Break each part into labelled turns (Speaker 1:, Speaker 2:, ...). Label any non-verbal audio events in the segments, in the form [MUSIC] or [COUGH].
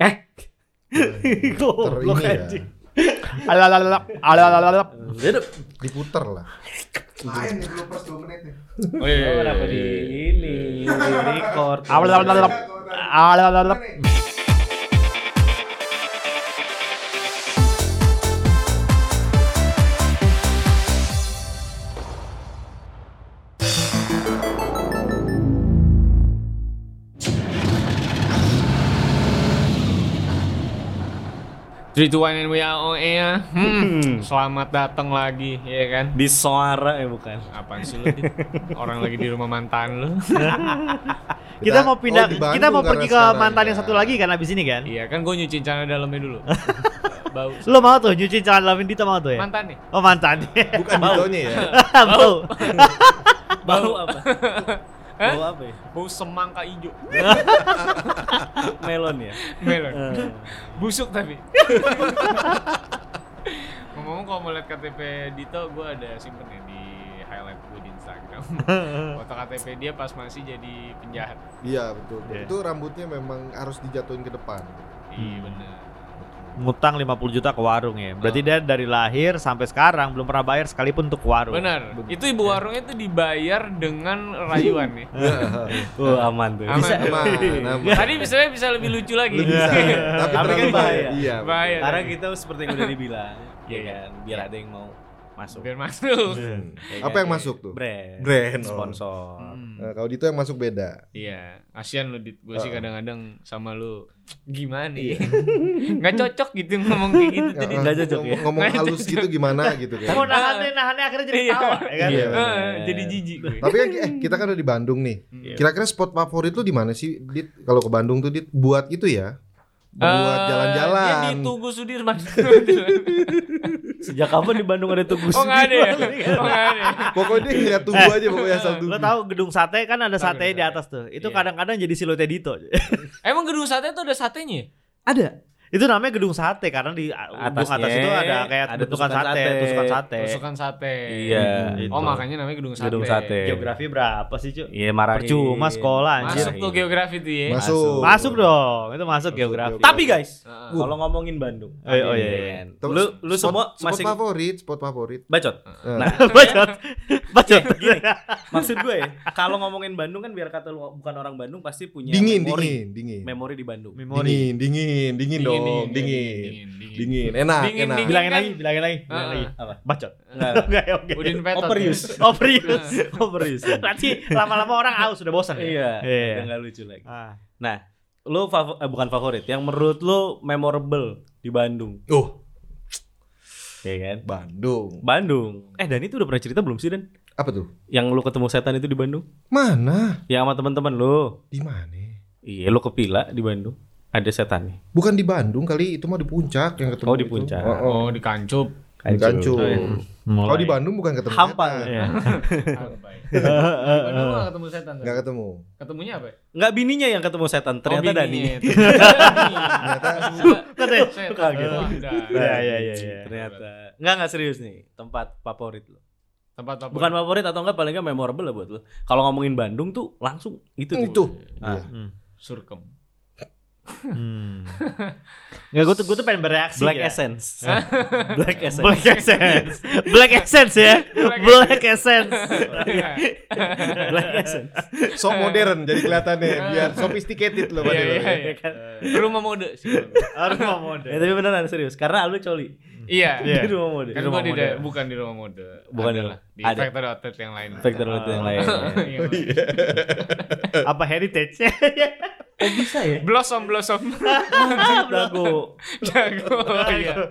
Speaker 1: Eh.
Speaker 2: Goblok
Speaker 1: Goblok
Speaker 2: anjing.
Speaker 1: anjing.
Speaker 3: Alalalap, alalalap.
Speaker 1: Hidup.
Speaker 2: Diputer lah.
Speaker 4: Lain nih bloopers 2 menit nih.
Speaker 1: Oh, kenapa di ini? Di record.
Speaker 3: Alalalap. Alalalap.
Speaker 4: Ini nih.
Speaker 5: Three, two, one, and we are on air. Hmm, selamat datang lagi, ya kan?
Speaker 1: Di suara ya [LAUGHS] bukan.
Speaker 5: Apaan sih lu? Dit? Orang lagi di rumah mantan lu.
Speaker 3: Kita mau pindah,
Speaker 2: oh, di Bandung
Speaker 3: kita mau pergi ke
Speaker 2: karena sekarang
Speaker 3: mantan
Speaker 2: ya.
Speaker 3: yang satu lagi kan abis ini kan.
Speaker 5: Iya kan gue nyuciin celana dalamnya dulu. Bau.
Speaker 1: Iya.
Speaker 3: Lo mau tuh nyuci celana dalam Dito mau tuh ya?
Speaker 5: Mantan nih.
Speaker 3: Oh
Speaker 1: [LAUGHS]
Speaker 3: mantan.
Speaker 2: Bukan videonya ya.
Speaker 1: Oh.
Speaker 3: Bau.
Speaker 1: Bau [LAUGHS] apa?
Speaker 5: Hah?
Speaker 1: Bau apa ya?
Speaker 5: Bau semangka
Speaker 1: [LAUGHS]
Speaker 5: hijau.
Speaker 1: Melon ya.
Speaker 5: Melon.
Speaker 1: Eh,
Speaker 5: Busuk tapi. Ngomong-ngomong kalau mau lihat KTP Dito, gue ada simpen ya di highlight gue di
Speaker 1: [LAUGHS]
Speaker 5: Instagram. Foto KTP dia pas masih jadi penjahat.
Speaker 2: [LAUGHS] Iya betul.
Speaker 3: Iya.
Speaker 2: Itu rambutnya memang harus dijatuhin ke depan.
Speaker 1: Hmm.
Speaker 5: Iya bener.
Speaker 3: Ngutang 50 juta ke warung ya. Berarti dia dari lahir sampai sekarang belum pernah bayar sekalipun untuk ke warung.
Speaker 5: Benar. Itu ibu warungnya itu dibayar dengan rayuan ya.
Speaker 1: Uh, aman tuh.
Speaker 5: Aman.
Speaker 1: Bisa.
Speaker 2: Aman, aman.
Speaker 5: [LAUGHS] Tadi misalnya bisa lebih lucu lagi.
Speaker 2: Lu
Speaker 5: [LAUGHS]
Speaker 2: bisa. Tapi
Speaker 1: Tapi kan
Speaker 2: terlalu
Speaker 1: bahaya.
Speaker 2: Iya.
Speaker 5: Bahaya.
Speaker 1: [LAUGHS] Karena kita seperti yang udah [LAUGHS] dibilang, ya
Speaker 5: Iya.
Speaker 1: kan, biar ada yang mau masuk.
Speaker 5: biar masuk.
Speaker 1: Ya
Speaker 2: Apa
Speaker 1: kan?
Speaker 2: yang masuk tuh?
Speaker 1: Brand.
Speaker 2: Brand, oh.
Speaker 1: Sponsor.
Speaker 2: Nah, kalau Dito yang masuk beda.
Speaker 5: Hmm, Iya, kasihan lu dit. Gue sih
Speaker 2: Heeh.
Speaker 5: kadang-kadang sama lu gimana ya? [LAUGHS] Nggak cocok gitu ngomong kayak gitu
Speaker 2: Ya,
Speaker 5: tadi.
Speaker 2: eh,
Speaker 1: Iya. nggak cocok ya?
Speaker 2: ngom- Ngomong
Speaker 5: Nggak
Speaker 2: halus
Speaker 5: cocok. [LAUGHS]
Speaker 2: gitu gimana gitu kan.
Speaker 3: Mau nahannya nahannya akhirnya jadi tawa ya kan.
Speaker 1: Iya.
Speaker 5: Heeh, jadi jijik gue.
Speaker 2: Tapi kan eh, kita kan udah di Bandung nih. Kira-kira spot favorit lu di mana sih, Dit? Kalau ke Bandung tuh Dit buat gitu ya. Buat
Speaker 5: Eh,
Speaker 2: jalan-jalan.
Speaker 5: Dia di Tugu Sudirman.
Speaker 1: Sejak kapan di Bandung ada tugas?
Speaker 5: [LAUGHS] oh nggak ada ya?
Speaker 3: kan?
Speaker 5: Oh nggak ada. ya?
Speaker 2: Pokoknya dia ngeliat tunggu aja pokoknya asal tunggu.
Speaker 3: Lo tahu gedung sate kan ada
Speaker 5: Tahu
Speaker 3: sate
Speaker 5: gedung
Speaker 3: di
Speaker 5: sate.
Speaker 3: atas tuh. Itu
Speaker 5: Iya.
Speaker 3: kadang-kadang jadi silhouette Dito.
Speaker 5: Emang gedung sate tuh ada satenya? ya?
Speaker 3: ada. Itu namanya gedung sate karena di gedung
Speaker 1: Atasnya
Speaker 3: atas itu ada kayak
Speaker 1: ada
Speaker 3: bentukan
Speaker 1: tusukan
Speaker 3: sate,
Speaker 1: sate.
Speaker 3: tusukan sate.
Speaker 5: Tusukan sate.
Speaker 1: Iya.
Speaker 5: Oh
Speaker 3: Gitu.
Speaker 5: makanya namanya gedung sate.
Speaker 1: Gedung sate.
Speaker 3: Geografi berapa sih, Cuk?
Speaker 1: Iya marah.
Speaker 3: Percuma sekolah, anjir.
Speaker 5: Masuk tuh geografi tuh ya.
Speaker 2: Masuk.
Speaker 3: Masuk dong. Itu masuk geografi.
Speaker 2: geografi.
Speaker 1: Iya. Tapi
Speaker 5: [LAUGHS]
Speaker 1: guys,
Speaker 5: Heeh.
Speaker 1: kalau ngomongin Bandung,
Speaker 3: Oh, iya, iya,
Speaker 1: tadi nih,
Speaker 3: iya.
Speaker 1: kan.
Speaker 2: Tuh,
Speaker 1: Lu lu
Speaker 2: spot-
Speaker 1: semua
Speaker 2: spot
Speaker 1: masih
Speaker 2: favorit, spot favorit.
Speaker 1: bacot.
Speaker 2: Eh,
Speaker 1: Nah,
Speaker 3: Bacot. Bacot.
Speaker 1: Gini, maksud gue ya, kalau ngomongin Bandung kan biar kata lu bukan orang Bandung pasti punya
Speaker 2: dingin,
Speaker 1: memori.
Speaker 2: dingin, dingin,
Speaker 1: Memori di Bandung.
Speaker 3: Memori.
Speaker 2: dingin, dingin, dingin dong, dingin, dingin, enak,
Speaker 5: Dingin,
Speaker 2: enak.
Speaker 5: dingin.
Speaker 3: Bilangin lagi, bilangin lagi, bilangin
Speaker 5: kan- Heeh.
Speaker 3: lagi.
Speaker 1: Apa?
Speaker 3: Bacot. [LAUGHS]
Speaker 1: Enggak. enggak.
Speaker 3: Enggak ya, oke. Oh,
Speaker 5: Udin Petot.
Speaker 1: Overuse.
Speaker 3: Overuse. Overuse. Nanti lama-lama orang aus sudah bosan ya.
Speaker 1: Iya,
Speaker 3: Iya.
Speaker 1: udah nggak lucu lagi.
Speaker 3: Ah.
Speaker 1: Nah, lu favo- eh, bukan favorit, yang menurut lu memorable di Bandung,
Speaker 2: Oh,
Speaker 1: ya kan?
Speaker 2: Bandung.
Speaker 1: Bandung. Eh, Dani tuh udah pernah cerita belum sih, Dan?
Speaker 2: Apa tuh?
Speaker 1: Yang lu ketemu setan itu di Bandung?
Speaker 2: Mana?
Speaker 1: Ya sama teman-teman lu.
Speaker 2: Di mana?
Speaker 1: Iya, lu ke Pila di Bandung. Ada setan nih.
Speaker 2: Bukan di Bandung kali, itu mah di puncak yang ketemu.
Speaker 1: Oh, di
Speaker 2: itu.
Speaker 1: Puncak. Oh, iya.
Speaker 2: Oh, oh.
Speaker 5: Oh, dikancup.
Speaker 2: Di Gancu. Kalau di
Speaker 3: Mulai. Iya.
Speaker 2: Bandung bukan ketemu.
Speaker 1: Hampa.
Speaker 3: [LAUGHS]
Speaker 2: setan.
Speaker 1: ya.
Speaker 5: Bandung nggak ketemu setan.
Speaker 2: Nggak ketemu.
Speaker 5: Ketemunya apa? ya?
Speaker 1: Nggak bininya yang ketemu setan, ternyata
Speaker 5: Oh,
Speaker 1: Dani. [LAUGHS]
Speaker 5: bininya. Ternyata
Speaker 3: Katanya,
Speaker 5: setan.
Speaker 1: kaget.
Speaker 5: Wah, dah.
Speaker 3: Iya, iya, iya, iya.
Speaker 1: [LAUGHS] Ternyata. Enggak enggak serius nih, tempat favorit lu.
Speaker 5: Tempat apa?
Speaker 1: Bukan favorit atau enggak paling enggak memorable lah buat lu. Kalau ngomongin Bandung tuh langsung itu tuh.
Speaker 2: Itu.
Speaker 1: Ah.
Speaker 5: Surkem.
Speaker 3: Hmm. [LAUGHS] Nggak, gue tuh, gue tuh pengen bereaksi
Speaker 1: Black
Speaker 3: ya.
Speaker 1: Essence. Black [LAUGHS] Essence.
Speaker 3: Black Essence. Black Essence ya.
Speaker 5: Black
Speaker 3: Black Essence.
Speaker 5: [LAUGHS]
Speaker 1: Black Essence.
Speaker 2: So Iya. modern jadi
Speaker 1: [LAUGHS]
Speaker 2: kelihatannya biar sophisticated loh
Speaker 5: Iya,
Speaker 2: padahal.
Speaker 5: iya, iya. Rumah mode sih.
Speaker 3: Harus mau
Speaker 1: Ya,
Speaker 3: mode.
Speaker 1: tapi beneran serius karena Aldo coli.
Speaker 5: Iya.
Speaker 1: Di rumah mode.
Speaker 5: Kan
Speaker 1: Di
Speaker 5: gua
Speaker 1: rumah
Speaker 5: di
Speaker 1: mode.
Speaker 5: bukan di rumah mode.
Speaker 1: Bukan
Speaker 5: Ada
Speaker 1: di-
Speaker 5: lah. Di
Speaker 1: ada.
Speaker 5: factory outlet yang lain.
Speaker 1: Factor outlet yang lain.
Speaker 5: Iya, Bang.
Speaker 1: eh,
Speaker 3: Apa
Speaker 1: [LAUGHS]
Speaker 3: heritage?
Speaker 1: Oh bisa ya?
Speaker 5: Blossom blossom. [LAUGHS]
Speaker 1: Lagu
Speaker 5: Jago.
Speaker 1: Oh,
Speaker 5: Iya.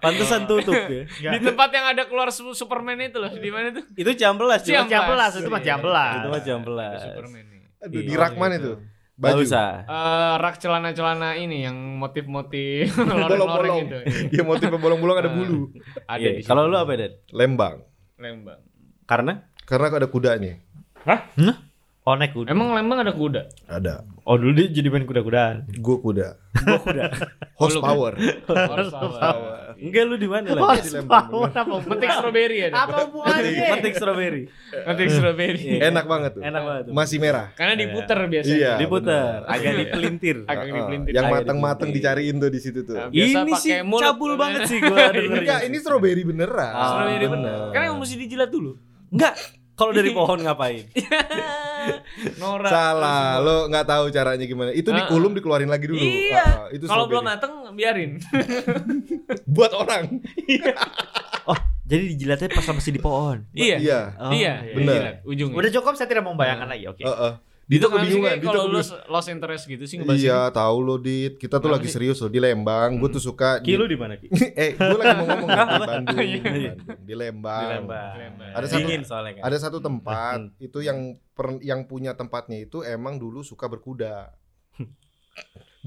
Speaker 1: pantesan tutup ya.
Speaker 5: Di tempat yang ada keluar Su- Superman itu loh. Di mana tuh?
Speaker 1: Itu jam belas
Speaker 5: Jam
Speaker 1: cuy.
Speaker 3: Jam belas itu mah jam belas.
Speaker 1: Iya, Itu mah jam
Speaker 5: Ada
Speaker 1: belas.
Speaker 5: Superman nih.
Speaker 2: Aduh, di
Speaker 1: Iya,
Speaker 2: rak mana itu?
Speaker 1: Gak
Speaker 2: Baju.
Speaker 1: usah.
Speaker 5: Eh, rak celana-celana ini yang
Speaker 2: [LAUGHS]
Speaker 5: motif-motif loreng-loreng
Speaker 2: Bolong-bolong.
Speaker 5: itu.
Speaker 1: gitu.
Speaker 2: Iya motifnya bolong-bolong ada bulu.
Speaker 5: Ada
Speaker 1: Iya,
Speaker 5: di
Speaker 1: Kalau
Speaker 5: situ.
Speaker 1: lu apa, Dan?
Speaker 2: Lembang.
Speaker 5: Lembang.
Speaker 1: Karena
Speaker 2: Karena ada kudanya.
Speaker 3: Onek udah.
Speaker 5: Emang Lembang ada kuda?
Speaker 2: Ada.
Speaker 3: Oh dulu dia jadi main kuda-kudaan.
Speaker 2: Gue
Speaker 1: [LAUGHS]
Speaker 2: kuda.
Speaker 1: Gua kuda. ya? [LAUGHS]
Speaker 2: Horsepower.
Speaker 5: Horsepower.
Speaker 1: Enggak lu di mana lah?
Speaker 2: Horse power
Speaker 3: apa
Speaker 5: Metik strawberry ya. Dok?
Speaker 1: Petik strawberry.
Speaker 5: Metik strawberry.
Speaker 1: Iya.
Speaker 2: Enak banget tuh.
Speaker 1: Enak banget. tuh.
Speaker 2: Masih merah.
Speaker 5: Karena diputer biasanya.
Speaker 2: Iya.
Speaker 1: Diputer,
Speaker 2: bener.
Speaker 1: agak dipelintir.
Speaker 5: Agak
Speaker 2: Heeh,
Speaker 5: dipelintir.
Speaker 2: Yang
Speaker 1: Agak
Speaker 2: matang-matang
Speaker 1: dipelintir.
Speaker 2: dicariin tuh di situ tuh.
Speaker 1: Iya,
Speaker 5: Nah, biasa
Speaker 1: Ini
Speaker 5: pakai
Speaker 1: sih
Speaker 5: mulut.
Speaker 1: cabul banget sih gua dengerin.
Speaker 2: Enggak, ini strawberry beneran.
Speaker 1: ya. Ah,
Speaker 5: Strawberry bener.
Speaker 1: Karena emang
Speaker 2: [LAUGHS]
Speaker 1: mesti dijilat dulu. Enggak. Kalau dari pohon ngapain?
Speaker 5: Nora.
Speaker 2: Salah,
Speaker 1: Iya.
Speaker 2: lo nggak tahu caranya gimana. Itu
Speaker 5: Ah,
Speaker 2: dikulum dikeluarin lagi dulu.
Speaker 5: Iya.
Speaker 2: Ah, ah, itu
Speaker 5: Kalau belum
Speaker 2: strawberry.
Speaker 5: mateng biarin.
Speaker 2: [LAUGHS] buat orang.
Speaker 3: Oh jadi dijilatnya pas masih di pohon.
Speaker 5: iya.
Speaker 2: Iya.
Speaker 3: Oh,
Speaker 5: iya.
Speaker 2: bener.
Speaker 5: iya, Ujungnya.
Speaker 3: Udah cukup saya tidak mau membayangkan
Speaker 1: Iya.
Speaker 3: lagi. Oke.
Speaker 1: Oh.
Speaker 2: Heeh. Dito
Speaker 5: kenapa sih
Speaker 2: kebingungan,
Speaker 5: kayak
Speaker 2: Dito
Speaker 5: Kalau lu
Speaker 2: kebingungan.
Speaker 5: lost interest gitu sih ngebahas
Speaker 2: Iya, tahu lo Dit. Kita tuh
Speaker 5: Kenapa
Speaker 2: lagi
Speaker 5: sih? Hmm.
Speaker 2: serius loh di Lembang. Gue tuh suka di,
Speaker 1: Ki lu di mana Ki?
Speaker 2: [LAUGHS] eh, gue lagi mau
Speaker 5: [LAUGHS]
Speaker 2: ngomong di
Speaker 1: Apa?
Speaker 2: Bandung,
Speaker 5: Iya.
Speaker 2: di Bandung. Di Lembang.
Speaker 1: Di Lembang.
Speaker 2: Ada satu-
Speaker 1: Dingin [LAUGHS] soalnya kan.
Speaker 2: Ada satu tempat itu yang per- yang punya tempatnya itu emang dulu suka berkuda.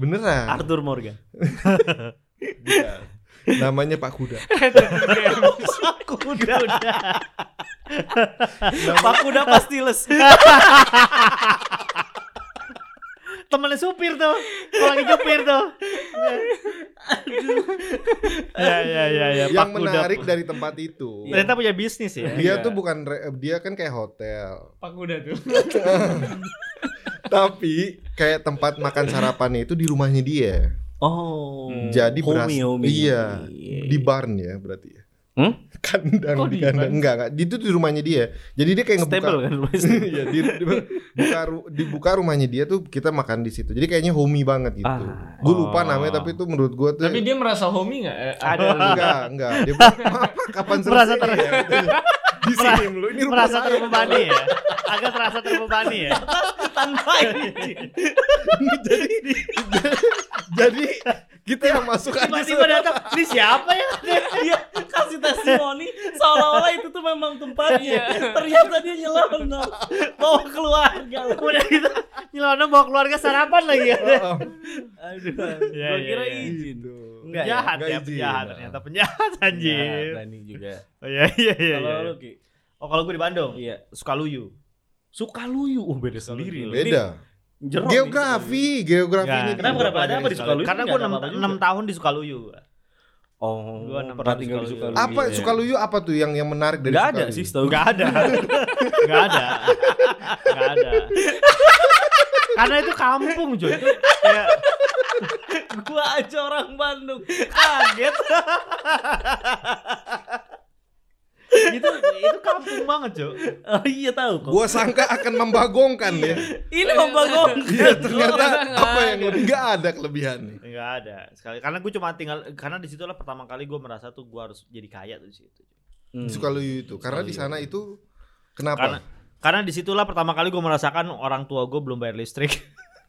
Speaker 2: Beneran.
Speaker 1: Arthur Morgan.
Speaker 2: Bukan. Namanya Pak Kuda.
Speaker 3: Kuda.
Speaker 1: Pak kuda pastiles.
Speaker 3: Temennya supir tuh. Kalau lagi supir tuh. Ya ya ya ya.
Speaker 2: yang
Speaker 3: Pak Kuda. Iya.
Speaker 2: menarik Iya, dari tempat itu.
Speaker 3: Ternyata punya bisnis ya.
Speaker 2: Dia tuh bukan re- dia kan kayak hotel,
Speaker 5: [LAUGHS] Pak kuda tuh.
Speaker 2: Iya. tapi kayak tempat makan sarapannya itu di rumahnya dia.
Speaker 1: Oh.
Speaker 2: Jadi beras
Speaker 1: homie, homie.
Speaker 2: iya di barn ya berarti ya. [LAUGHS]
Speaker 1: Hmm?
Speaker 2: Kandang
Speaker 5: Kok
Speaker 2: di
Speaker 5: di
Speaker 2: kandang
Speaker 5: barn?
Speaker 2: enggak enggak. Itu di rumahnya dia. Jadi dia kayak ngebuka
Speaker 1: Stable kan [LAUGHS] rumahnya.
Speaker 2: Iya, di, di, buka ru- dibuka rumahnya dia tuh kita makan di situ. Jadi kayaknya homey banget gitu.
Speaker 1: Ah.
Speaker 2: gue
Speaker 3: Oh.
Speaker 2: lupa namanya tapi itu menurut gue tuh
Speaker 5: Tapi dia merasa homie Eh, enggak?
Speaker 2: [LAUGHS] enggak enggak.
Speaker 1: [LAUGHS]
Speaker 2: Dia bilang, apa kapan selesai?
Speaker 3: Merasa ter-
Speaker 2: ya?" Gitu. di sini mulu. Ini rumah
Speaker 3: merasa terbebani ya. Agak terasa terbebani ya. Iya.
Speaker 1: Tanpa
Speaker 2: Jadi kita yang masuk aja.
Speaker 3: Tiba-tiba datang. Ini siapa ya?
Speaker 1: dia Iya, kasih testimoni seolah-olah itu tuh memang tempatnya. Ternyata dia nyelonong bawa keluarga.
Speaker 3: [LAUGHS] Udah gitu. Nyelonong bawa keluarga sarapan lagi ya.
Speaker 2: Heeh.
Speaker 1: Aduh,
Speaker 3: Ya,
Speaker 1: gua
Speaker 3: ya,
Speaker 1: kira
Speaker 3: ya.
Speaker 1: izin.
Speaker 2: Gitu.
Speaker 1: Enggak ya?
Speaker 3: jahat
Speaker 2: nggak
Speaker 3: ya,
Speaker 2: izin.
Speaker 3: penjahat ternyata penjahat anjir.
Speaker 1: Nah, Dani juga.
Speaker 3: Oh iya iya iya.
Speaker 1: Kalau
Speaker 3: iya.
Speaker 1: lu Ki,
Speaker 3: Oh kalau gue di Bandung,
Speaker 1: iya.
Speaker 3: Sukaluyu.
Speaker 1: Sukaluyu, oh beda sendiri. loh.
Speaker 2: Beda.
Speaker 1: Ini jeruk nih, Sukaluyu.
Speaker 2: Geografi, geografinya.
Speaker 3: Ya.
Speaker 1: Kenapa,
Speaker 2: juga.
Speaker 1: kenapa? Ada apa di Sukaluyu?
Speaker 3: Karena
Speaker 1: Nggak
Speaker 3: gue
Speaker 1: ada
Speaker 3: 6,
Speaker 1: apa-apa juga.
Speaker 3: tahun di Sukaluyu.
Speaker 1: Oh,
Speaker 3: Gua enam
Speaker 1: pernah
Speaker 3: tahun
Speaker 1: tinggal di
Speaker 3: Sukaluyu.
Speaker 1: Sukaluyu.
Speaker 2: Apa
Speaker 1: Iya.
Speaker 2: Sukaluyu apa tuh yang yang menarik dari
Speaker 1: Nggak ada
Speaker 2: Sukaluyu?
Speaker 1: sih, setahu
Speaker 3: Enggak ada. Enggak ada. Enggak ada. Karena itu kampung, Joy. Itu kayak
Speaker 1: gua aja orang Bandung. Ah, Kaget.
Speaker 3: itu itu kampung banget, Jo.
Speaker 1: Oh iya tahu kok.
Speaker 2: Gua sangka akan membagongkan
Speaker 1: Iya.
Speaker 2: ya.
Speaker 1: Ini [LAUGHS] membangun.
Speaker 2: Iya, ternyata apa yang lebih enggak ada kelebihannya.
Speaker 3: Enggak ada. Sekali karena gue cuma tinggal karena di situlah pertama kali gue merasa tuh gue harus jadi kaya tuh di situ.
Speaker 1: Hmm. Iya.
Speaker 2: Sukaluyu itu karena di sana itu
Speaker 3: Karena
Speaker 2: kenapa?
Speaker 3: karena disitulah pertama kali gue merasakan orang tua gue belum bayar listrik.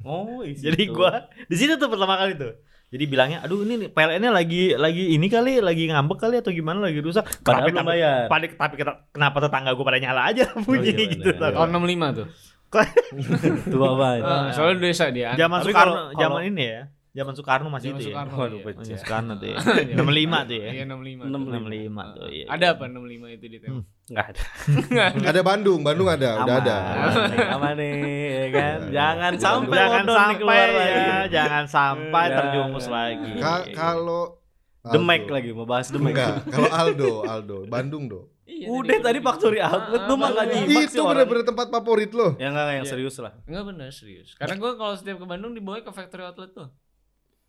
Speaker 1: Oh, isi
Speaker 3: Jadi
Speaker 1: itu.
Speaker 3: gua di situ tuh pertama kali tuh. Jadi bilangnya, aduh ini nih, PLN-nya lagi lagi ini kali, lagi ngambek kali atau gimana lagi rusak.
Speaker 1: Padahal
Speaker 3: Kenapa-
Speaker 1: belum bayar.
Speaker 3: Tapi, tapi keta- kenapa tetangga gue pada nyala aja bunyi
Speaker 1: iya,
Speaker 3: gitu.
Speaker 1: benar.
Speaker 3: tau.
Speaker 5: Tahun 65 tuh.
Speaker 1: Tua banget.
Speaker 5: Eh, soalnya desa dia.
Speaker 3: Zaman
Speaker 1: iya. Tapi
Speaker 3: Soekarno,
Speaker 1: kalau- kalau-
Speaker 3: zaman ini ya, zaman Soekarno masih
Speaker 5: Zaman
Speaker 3: itu ya.
Speaker 5: Soekarno.
Speaker 1: Waduh,
Speaker 5: Iya.
Speaker 3: Oh,
Speaker 1: pecah.
Speaker 3: [LAUGHS] iya, Soekarno tuh
Speaker 1: [LAUGHS]
Speaker 3: ya.
Speaker 5: Iya.
Speaker 3: 65 tuh ya.
Speaker 5: Iya 65. tuh.
Speaker 1: 65.
Speaker 3: 65 tuh ya.
Speaker 5: Ada apa 65 itu di tema?
Speaker 1: Enggak ada.
Speaker 2: [LAUGHS] Ada Bandung, Bandung ada, udah
Speaker 1: [LAUGHS]
Speaker 2: ada.
Speaker 1: Aman nih, aman nih, ya kan?
Speaker 2: Iya, iya.
Speaker 1: Jangan
Speaker 2: Jangan
Speaker 1: sampai
Speaker 3: Jangan
Speaker 1: London nih
Speaker 3: sampai
Speaker 1: keluar
Speaker 3: ya,
Speaker 1: lagi. Iya.
Speaker 3: jangan sampai
Speaker 1: Jangan.
Speaker 3: terjumus lagi.
Speaker 2: Ka- kalau
Speaker 1: Demek
Speaker 2: Aldo.
Speaker 1: lagi, mau bahas demek. [LAUGHS]
Speaker 2: Enggak, kalau Aldo, Aldo, Bandung do.
Speaker 5: Iya,
Speaker 1: Udah tadi factory outlet
Speaker 5: Ah,
Speaker 1: lu
Speaker 5: ah,
Speaker 1: mah nggak
Speaker 5: ah.
Speaker 1: nyimak sih
Speaker 2: Itu
Speaker 1: orang.
Speaker 2: bener-bener tempat favorit lo.
Speaker 1: Ya enggak yang
Speaker 5: Iya.
Speaker 1: serius lah.
Speaker 5: Enggak bener serius. Karena gue kalau setiap ke Bandung dibawa ke factory outlet tuh.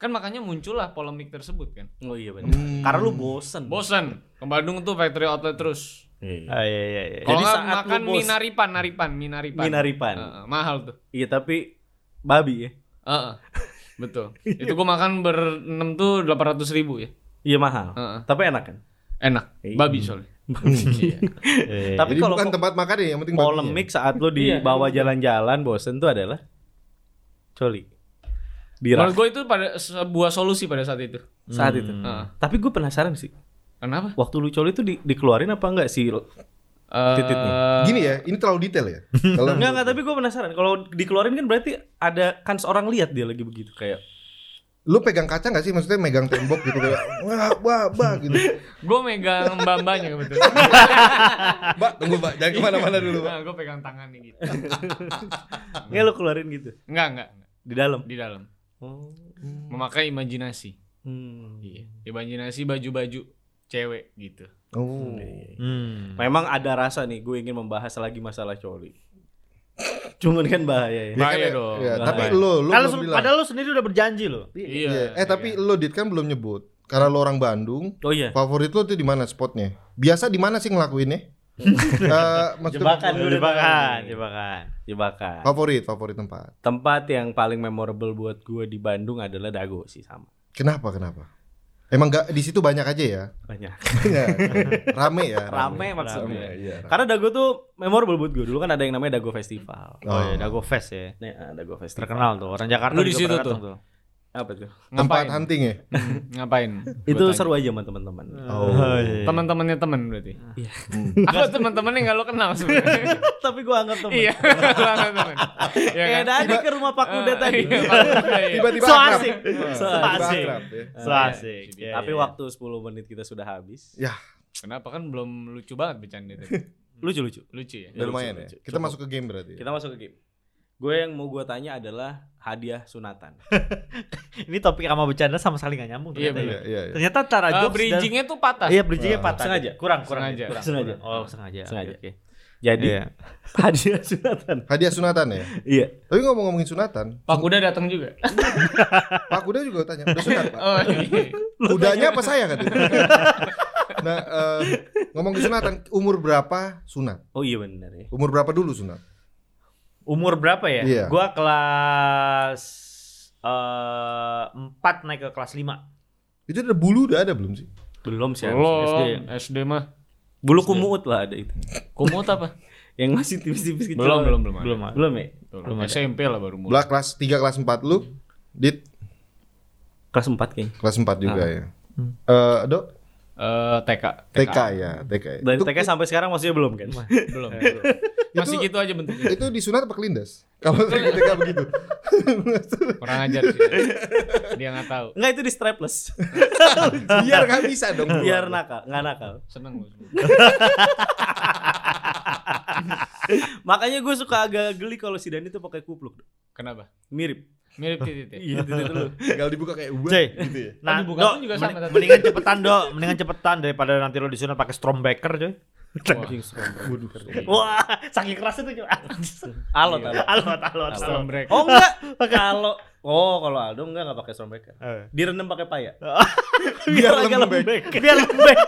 Speaker 5: Kan makanya muncullah polemik tersebut kan.
Speaker 1: Oh iya benar.
Speaker 2: Hmm.
Speaker 1: Karena lu bosen.
Speaker 5: Bosan ke Bandung tuh factory outlet terus.
Speaker 1: Iya.
Speaker 3: Ah, iya iya iya.
Speaker 5: Kalau
Speaker 1: Jadi
Speaker 5: nggak
Speaker 1: saat lu
Speaker 5: makan
Speaker 1: bos-
Speaker 5: mie naripan, naripan, mie naripan.
Speaker 1: Minaripan.
Speaker 5: Heeh, mahal tuh.
Speaker 1: Iya tapi babi ya.
Speaker 5: Heeh. Betul. Itu gue makan berenam tuh 800 ribu ya.
Speaker 1: Iya mahal.
Speaker 5: Heeh.
Speaker 1: Tapi enak kan?
Speaker 5: Enak.
Speaker 1: Iya.
Speaker 5: Babi soalnya. Iya.
Speaker 3: Iya.
Speaker 1: Tapi
Speaker 2: Jadi
Speaker 1: kalau
Speaker 2: bukan
Speaker 1: po-
Speaker 2: tempat makan ya, yang penting babinya.
Speaker 1: polemik saat lu dibawa jalan-jalan bosen tuh adalah coli. Birak
Speaker 5: Menurut gue itu pada sebuah solusi pada saat itu. Ah.
Speaker 1: saat itu.
Speaker 5: Heeh.
Speaker 1: Tapi gue penasaran sih,
Speaker 5: Kenapa?
Speaker 1: waktu lu coli itu di- dikeluarin apa enggak sih?
Speaker 5: Eh,
Speaker 1: Titiknya.
Speaker 2: Gini ya, ini terlalu detail
Speaker 1: [LAUGHS]
Speaker 2: ya. Kalau
Speaker 1: Enggak enggak, tapi gue penasaran. Kalau dikeluarin kan berarti ada kans orang lihat dia lagi begitu kayak
Speaker 2: lu pegang kaca gak sih? Maksudnya megang tembok gitu kayak wah, wah, wah
Speaker 1: [LAUGHS]
Speaker 2: gitu.
Speaker 5: Gue megang mbak-mbaknya kebetulan.
Speaker 2: Mbak, tunggu Mbak, jangan kemana-mana Iya, dulu Mbak.
Speaker 5: Nah, gue pegang tangannya gitu.
Speaker 1: Enggak lu keluarin gitu.
Speaker 5: Enggak, enggak. enggak.
Speaker 1: di dalam.
Speaker 5: di dalam
Speaker 1: Oh.
Speaker 5: memakai imajinasi
Speaker 1: Hmm.
Speaker 5: iya imajinasi baju-baju cewek gitu
Speaker 3: Hmm.
Speaker 2: Oh.
Speaker 1: iya, Memang ada rasa nih gue ingin membahas lagi masalah coli. Cuman kan
Speaker 2: Ya
Speaker 1: bahaya ya.
Speaker 2: kan,
Speaker 5: Bahaya
Speaker 2: ya-
Speaker 5: dong.
Speaker 2: ya,
Speaker 1: Bahaya.
Speaker 2: tapi lo lo
Speaker 3: Kalau
Speaker 2: belum
Speaker 3: se-
Speaker 2: bilang.
Speaker 3: padahal lu sendiri udah berjanji loh.
Speaker 5: iya
Speaker 2: Iya. Eh tapi lo Dit kan belum nyebut. Karena lo orang Bandung,
Speaker 1: Oh iya.
Speaker 2: favorit lo tuh di mana spotnya? Biasa di mana sih ngelakuinnya? Eh, maksudnya
Speaker 1: Jebakan dulu.
Speaker 3: Jebakan, jebakan.
Speaker 1: Jebakan.
Speaker 2: favorit, favorit tempat.
Speaker 1: Ya, Tempat yang paling memorable buat gue di Bandung adalah Dago sih sama.
Speaker 2: Kenapa? Kenapa? Emang gak di situ banyak aja [LAUGHS] ya?
Speaker 1: Banyak.
Speaker 2: Banyak. rame ya.
Speaker 1: Rame Kan-
Speaker 2: Rame,
Speaker 1: maksudnya.
Speaker 2: iya, rame.
Speaker 1: Karena Dago tuh memorable buat gue. Dulu kan ada yang namanya Dago Festival.
Speaker 3: Oh, iya,
Speaker 2: Oh.
Speaker 3: Dago Fest ya.
Speaker 1: Nih, ah, Dago Festival.
Speaker 3: Terkenal tuh orang Jakarta
Speaker 5: Lu di
Speaker 3: juga
Speaker 5: situ
Speaker 3: pernah
Speaker 5: tuh?
Speaker 3: datang
Speaker 1: Apa tuh?
Speaker 2: Tempat
Speaker 5: ngapain
Speaker 2: hunting ya?
Speaker 5: Hmm, ngapain
Speaker 1: Itu
Speaker 5: Gua tanya.
Speaker 1: seru aja sama teman-teman.
Speaker 2: Oh.
Speaker 3: iya.
Speaker 5: teman-temannya teman berarti
Speaker 1: Iya.
Speaker 5: aku teman-temannya nggak lo kenal sebenarnya
Speaker 1: [LAUGHS] Tapi gue anggap teman.
Speaker 5: iya lo anggap teman Iya
Speaker 1: Kayak
Speaker 5: kan?
Speaker 1: tadi ke rumah Pak Kuda
Speaker 5: Eh,
Speaker 1: tadi. [LAUGHS]
Speaker 5: iya, Pak Kuda, iya.
Speaker 2: Tiba-tiba
Speaker 3: So
Speaker 2: akrab.
Speaker 3: asik.
Speaker 2: Ah,
Speaker 1: So
Speaker 2: tiba-tiba
Speaker 3: asik.
Speaker 2: akrab ya.
Speaker 1: Oh,
Speaker 3: So asik. Iya,
Speaker 1: Tapi
Speaker 3: iya.
Speaker 1: waktu 10 menit kita sudah habis.
Speaker 2: Ya,
Speaker 5: kenapa kan belum lucu banget bercanda tadi
Speaker 1: Lucu-lucu.
Speaker 5: lucu ya
Speaker 2: udah lumayan ya.
Speaker 1: lucu, lucu.
Speaker 2: Kita
Speaker 1: Cukup.
Speaker 2: masuk ke game berarti. ya?
Speaker 1: Kita masuk ke game. Gue yang mau gue tanya adalah hadiah sunatan.
Speaker 3: Ini topik sama bercanda sama sekali gak nyambung
Speaker 5: Iya,
Speaker 3: ternyata.
Speaker 2: Iya,
Speaker 3: ya.
Speaker 2: iya, iya.
Speaker 3: Ternyata cara
Speaker 5: Eh,
Speaker 3: jokes
Speaker 5: bridgingnya tuh patah
Speaker 3: dan Iya, bridgingnya
Speaker 2: Ah.
Speaker 3: patah.
Speaker 1: Sengaja.
Speaker 3: Kurang, kurang.
Speaker 5: Sengaja.
Speaker 3: kurang.
Speaker 1: Sengaja.
Speaker 3: Oh, sengaja. Oke,
Speaker 1: Sengaja.
Speaker 3: oke.
Speaker 1: Jadi
Speaker 3: Iya.
Speaker 1: [LAUGHS] hadiah sunatan.
Speaker 2: Hadiah sunatan ya.
Speaker 1: Iya.
Speaker 2: Tapi ngomong-ngomongin sunatan,
Speaker 5: Pak Kuda datang juga.
Speaker 2: Pak Kuda juga tanya, udah sunat Pak?
Speaker 5: Oh, iya.
Speaker 2: Kudanya apa saya katanya? nah, eh, ngomongin sunatan, umur berapa sunat?
Speaker 1: Oh iya benar ya.
Speaker 2: Umur berapa dulu sunat?
Speaker 3: Umur berapa ya?
Speaker 2: Iya.
Speaker 3: Gua kelas eh 4 naik ke kelas 5.
Speaker 2: Itu udah bulu udah ada belum sih?
Speaker 1: Belum sih harus SD.
Speaker 5: Belum SD mah.
Speaker 1: ya. Bulu kumuut lah ada itu.
Speaker 5: Kumut apa?
Speaker 1: [LAUGHS] Yang masih tipis-tipis kecil.
Speaker 5: Belum, belum, belum. ada.
Speaker 3: Belum. ada.
Speaker 1: Belum ya?
Speaker 5: Belum SMP lah baru mulai.
Speaker 2: Belah kelas 3 kelas 4 lu, Dit
Speaker 1: Kelas 4 kayaknya.
Speaker 2: kelas 4 juga
Speaker 1: Ah.
Speaker 2: ya. Eh, Dok,
Speaker 5: Eh, TK.
Speaker 2: TK ya, TK. ya.
Speaker 1: Dari
Speaker 2: Itu-
Speaker 1: TK sampai sekarang maksudnya belum kan? [LAUGHS]
Speaker 5: Belum.
Speaker 2: Itu-
Speaker 5: Masih gitu aja bentuknya.
Speaker 2: itu disunat apa kelindas? Kalau TK begitu.
Speaker 5: Kurang ajar sih. Dia nggak tahu.
Speaker 1: Enggak itu di [LAUGHS] strapless.
Speaker 2: Biar nggak bisa dong. keluar.
Speaker 1: Biar nakal, enggak nakal.
Speaker 5: Seneng lu.
Speaker 1: Makanya gue suka agak geli kalau si Dani tuh pakai kupluk.
Speaker 5: Kenapa?
Speaker 1: Mirip.
Speaker 5: Mirip titik titik.
Speaker 1: Iya, itu [LAUGHS] dulu.
Speaker 2: Tinggal dibuka kayak wah
Speaker 3: Cey.
Speaker 2: gitu ya.
Speaker 3: Nah,
Speaker 5: dibuka
Speaker 3: Dok,
Speaker 5: pun juga sama
Speaker 3: mending-
Speaker 5: tadi.
Speaker 3: mendingan cepetan, Dok. Mendingan cepetan daripada nanti lo disunat pakai strombeker, coy.
Speaker 2: Waduh.
Speaker 3: Wah, saking keras itu. coy.
Speaker 1: Alot,
Speaker 5: Iya.
Speaker 1: alot.
Speaker 3: Alot, alot, alot.
Speaker 5: Stormbreak.
Speaker 1: Oh
Speaker 2: [LAUGHS]
Speaker 1: enggak, kalau oh kalau Aldo enggak enggak pakai stormbreaker.
Speaker 3: Eh.
Speaker 1: Direndam pakai paya.
Speaker 2: Biar
Speaker 1: agak
Speaker 2: lembek.
Speaker 3: [LAUGHS] Biar lembek.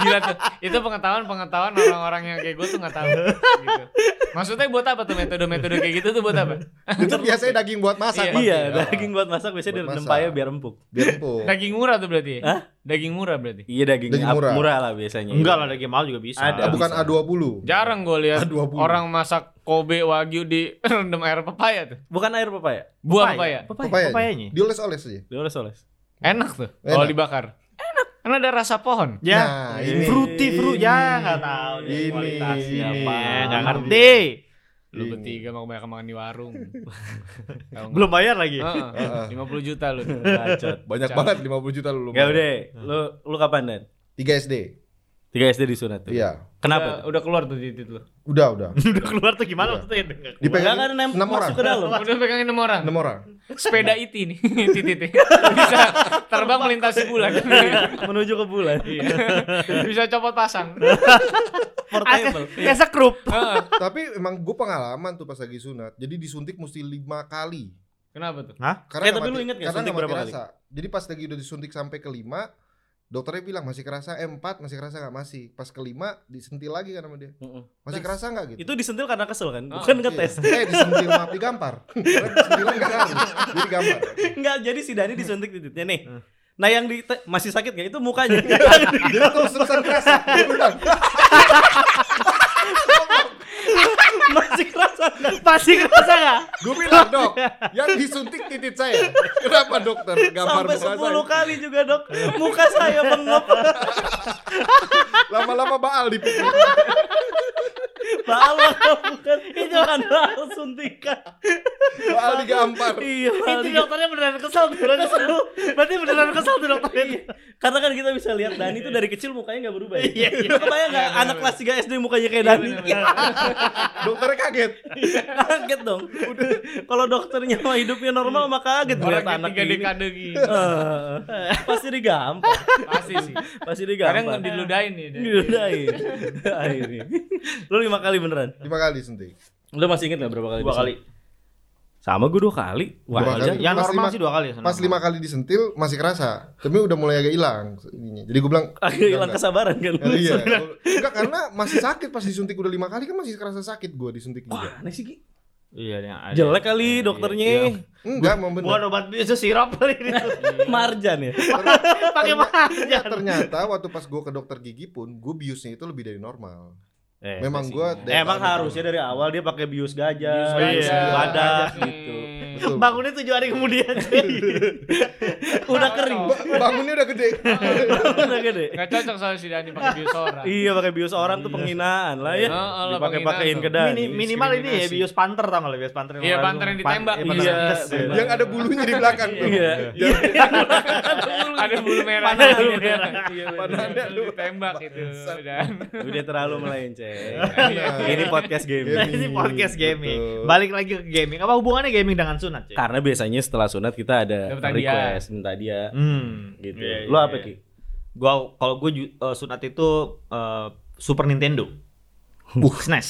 Speaker 5: Gila tuh. Itu pengetahuan-pengetahuan orang-orang yang kayak gue tuh nggak tahu. Gitu. Maksudnya buat apa tuh metode-metode kayak gitu tuh buat apa?
Speaker 2: Itu biasanya daging buat masak.
Speaker 5: Iya.
Speaker 2: pasti.
Speaker 1: Iya,
Speaker 2: Ah,
Speaker 1: daging buat masak biasanya
Speaker 2: Buat
Speaker 1: direndam
Speaker 2: masak.
Speaker 1: paya biar empuk.
Speaker 2: Biar empuk.
Speaker 5: Daging murah tuh berarti. ya?
Speaker 1: Hah?
Speaker 5: Daging murah berarti.
Speaker 1: Iya daging,
Speaker 2: Daging
Speaker 1: ap-
Speaker 2: murah.
Speaker 1: lah biasanya.
Speaker 3: Enggak lah, lagi mahal juga bisa.
Speaker 1: Iya. Ada.
Speaker 2: Ah, bukan
Speaker 1: Bisa.
Speaker 2: A20.
Speaker 5: Jarang gue lihat
Speaker 2: A20.
Speaker 5: orang masak Kobe Wagyu di [LAUGHS] rendam air pepaya tuh.
Speaker 1: Bukan air pepaya.
Speaker 3: Pepaya.
Speaker 5: Buah pepaya.
Speaker 3: Pepaya.
Speaker 2: Pepayanya.
Speaker 3: Pepayanya.
Speaker 2: ya? Dioles-oles aja.
Speaker 1: Dioles-oles.
Speaker 5: Enak tuh kalau
Speaker 2: Enak.
Speaker 5: dibakar. Enak. Karena ada rasa pohon.
Speaker 3: Ya,
Speaker 2: Nah, ini.
Speaker 3: fruity fruit ya nggak tahu deh
Speaker 2: Ini.
Speaker 3: kualitasnya
Speaker 2: Ini.
Speaker 3: apa, nggak
Speaker 2: Ini.
Speaker 3: ngerti.
Speaker 5: Lu
Speaker 2: Ini.
Speaker 5: bertiga mau banyak makan di warung. Tahu nggak?
Speaker 3: Belum bayar lagi.
Speaker 5: Heeh,
Speaker 2: Heeh.
Speaker 5: 50 juta lu.
Speaker 1: Bacot. [LAUGHS]
Speaker 2: Banyak
Speaker 5: Cara.
Speaker 2: banget 50 juta lu.
Speaker 1: Enggak Ya udah, lu lu kapan Dan?
Speaker 2: 3 SD.
Speaker 1: 3 SD disunat tuh.
Speaker 2: Iya.
Speaker 5: Udah,
Speaker 1: Kenapa? tuh?
Speaker 5: udah keluar tuh titik lu.
Speaker 2: Udah,
Speaker 1: [LAUGHS]
Speaker 2: udah.
Speaker 3: [LAUGHS] Udah keluar tuh
Speaker 1: Iya.
Speaker 3: gimana waktu itu?
Speaker 1: Enggak
Speaker 2: Dipegang
Speaker 1: kan nem-
Speaker 2: 6 orang.
Speaker 1: masuk ke
Speaker 2: [LAUGHS]
Speaker 1: dalam.
Speaker 5: Udah pegangin enam orang.
Speaker 2: 6 orang.
Speaker 5: Sepeda iti nih [LAUGHS] titik Bisa terbang melintasi bulan.
Speaker 1: [LAUGHS] Menuju ke bulan.
Speaker 5: Iya. Bisa copot pasang.
Speaker 2: [LAUGHS]
Speaker 1: Portable.
Speaker 3: Kayak sekrup.
Speaker 5: Heeh.
Speaker 2: Tapi emang gue pengalaman tuh pas lagi sunat. Jadi disuntik mesti 5 kali.
Speaker 5: Kenapa tuh?
Speaker 2: Karena
Speaker 1: Eh,
Speaker 2: nggak
Speaker 1: tapi lu
Speaker 2: mati-
Speaker 1: inget nggak
Speaker 2: karena
Speaker 1: suntik
Speaker 2: nggak
Speaker 1: berapa
Speaker 2: mati rasa. Jadi pas lagi udah disuntik sampai kelima, dokternya bilang masih kerasa eh, 4 masih kerasa nggak masih. Pas kelima disentil lagi kan sama dia.
Speaker 1: Mm-mm. Nah,
Speaker 2: Masih kerasa nggak gitu?
Speaker 1: Itu disentil karena kesel kan?
Speaker 5: Oh,
Speaker 1: Bukan
Speaker 2: Iya.
Speaker 1: ngetes.
Speaker 2: Eh disentil maaf digampar. [LAUGHS] Karena Disentilan nggak ngaruh. Jadi gampar.
Speaker 1: [LAUGHS] [LAUGHS] Enggak, jadi si Dani disuntik titiknya nih.
Speaker 2: Hmm.
Speaker 1: Nah yang di masih sakit gak? Itu
Speaker 2: [LAUGHS]
Speaker 1: mukanya. [LAUGHS]
Speaker 2: Jadi terus terusan kerasa. Dia bilang,
Speaker 1: masih kerasa nggak?
Speaker 3: Pasti kerasa
Speaker 1: [LAUGHS]
Speaker 3: nggak?
Speaker 2: Gue bilang dok, yang disuntik titik saya. Kenapa dokter? Gambar
Speaker 1: Sampai
Speaker 2: muka
Speaker 1: kan?
Speaker 2: saya.
Speaker 1: 10 kali juga dok Muka saya bengep
Speaker 2: Lama-lama baal di pipi.
Speaker 1: Baal maka bukan itu bukan baal suntikan.
Speaker 2: Baal digampar.
Speaker 1: Iya,
Speaker 3: Itu
Speaker 1: baal digampar.
Speaker 3: dokternya beneran kesel tuh. Berarti seru. Berarti beneran kesel tuh dokternya.
Speaker 1: Iya. Karena kan kita bisa lihat Dani itu dari kecil mukanya nggak berubah.
Speaker 3: Iya,
Speaker 1: Ya?
Speaker 3: iya.
Speaker 1: Lu kebayang nggak
Speaker 5: Iya, benar,
Speaker 1: anak
Speaker 5: benar.
Speaker 1: kelas 3 SD mukanya kayak Dani?
Speaker 2: Dokternya kaget.
Speaker 1: [LAUGHS] kaget dong. Kalau dokternya mah hidupnya normal mah kaget
Speaker 5: Orang
Speaker 1: ngeliat anak
Speaker 5: tiga
Speaker 1: ini.
Speaker 5: dekade gitu.
Speaker 1: Eh, pasti digampar,
Speaker 5: Pasti sih.
Speaker 1: pasti
Speaker 5: Kadang
Speaker 1: digampar.
Speaker 5: diludahin nih. Dan.
Speaker 1: Iya, Diludahin. Akhirnya. Lu lima kali beneran?
Speaker 2: Lima kali suntik.
Speaker 1: Lu masih inget gak berapa kali?
Speaker 3: Dua
Speaker 1: disuntik?
Speaker 3: kali.
Speaker 1: Sama gue dua kali. Wah,
Speaker 2: Dua
Speaker 1: aja.
Speaker 2: kali.
Speaker 3: Yang
Speaker 2: Pas
Speaker 3: normal
Speaker 2: lima-
Speaker 3: sih dua kali. ya, yang
Speaker 2: Pas
Speaker 3: normal.
Speaker 2: lima kali disentil masih kerasa, tapi udah mulai agak hilang ininya. Jadi gue bilang
Speaker 1: Akhirnya hilang
Speaker 2: "Enggak,
Speaker 1: kesabaran kan.
Speaker 2: enggak." Iya. Enggak karena masih sakit pas disuntik udah lima kali kan masih kerasa sakit gue disuntik juga.
Speaker 1: Wah, aneh sih Ki.
Speaker 3: Iya, yang ada.
Speaker 1: Jelek kali
Speaker 3: Iya,
Speaker 1: dokternya.
Speaker 3: iya.
Speaker 2: Enggak mau bener.
Speaker 3: Bukan obat bisu sirup kali ini.
Speaker 1: [LAUGHS] Marjan ya.
Speaker 3: Pakai
Speaker 2: Ya,
Speaker 3: marjan.
Speaker 2: ternyata waktu pas gue ke dokter gigi pun gue biusnya itu lebih dari normal.
Speaker 3: Eh,
Speaker 2: Memang
Speaker 3: masih.
Speaker 2: gue
Speaker 1: Eh, emang harusnya dari awal dia pakai bius
Speaker 3: Bius
Speaker 1: gajah,
Speaker 3: gajah,
Speaker 1: bius
Speaker 3: Iya,
Speaker 1: badak
Speaker 5: badak,
Speaker 1: gitu.
Speaker 5: hmm.
Speaker 2: Betul.
Speaker 3: Bangunnya tujuh hari kemudian.
Speaker 1: Udah kering,
Speaker 2: Ba- bangunnya udah
Speaker 1: [LAUGHS]
Speaker 2: gede.
Speaker 1: udah gede.
Speaker 5: Nggak cocok soalnya si Dani pakai bius orang.
Speaker 1: Iya pakai bius orang tuh penghinaan lah
Speaker 5: Iya.
Speaker 1: ya.
Speaker 5: Oh, lah,
Speaker 1: Dipakai-pakaiin
Speaker 5: penghinaan.
Speaker 1: ke Dani.
Speaker 3: Mini- minimal ini ya
Speaker 5: diskriminasi.
Speaker 3: bios panter tau nggak lo, bios panter yang
Speaker 5: Iya,
Speaker 3: lalu.
Speaker 5: panter yang ditembak.
Speaker 3: Pan- panter
Speaker 1: Iya,
Speaker 3: kes, ya.
Speaker 5: benar.
Speaker 2: Yang ada bulunya di belakang. tuh.
Speaker 1: Iya.
Speaker 2: Yang-
Speaker 5: [LAUGHS] ada bulu merah
Speaker 3: Panah
Speaker 5: gitu.
Speaker 3: bulu merah.
Speaker 5: Iya,
Speaker 2: Panahnya
Speaker 5: bener. ditembak gitu, itu
Speaker 2: Bangsat.
Speaker 5: dan
Speaker 1: Udah terlalu melenceng.
Speaker 5: Iya.
Speaker 2: Nah,
Speaker 3: Iya.
Speaker 1: Ini podcast
Speaker 3: [LAUGHS]
Speaker 1: gaming.
Speaker 3: Ini podcast gaming.
Speaker 2: Betul.
Speaker 3: Balik lagi ke gaming. Apa hubungannya gaming dengan sunat? Cik?
Speaker 1: Karena biasanya setelah sunat kita ada
Speaker 5: Dapat hadiah.
Speaker 1: request minta dia
Speaker 3: Hmm,
Speaker 1: gitu.
Speaker 3: Iya,
Speaker 1: Lo
Speaker 3: iya,
Speaker 1: apa
Speaker 3: iya.
Speaker 1: Ki?
Speaker 3: Gua kalau gua ju- eh, sunat itu eh, Super Nintendo. Uh, SNES.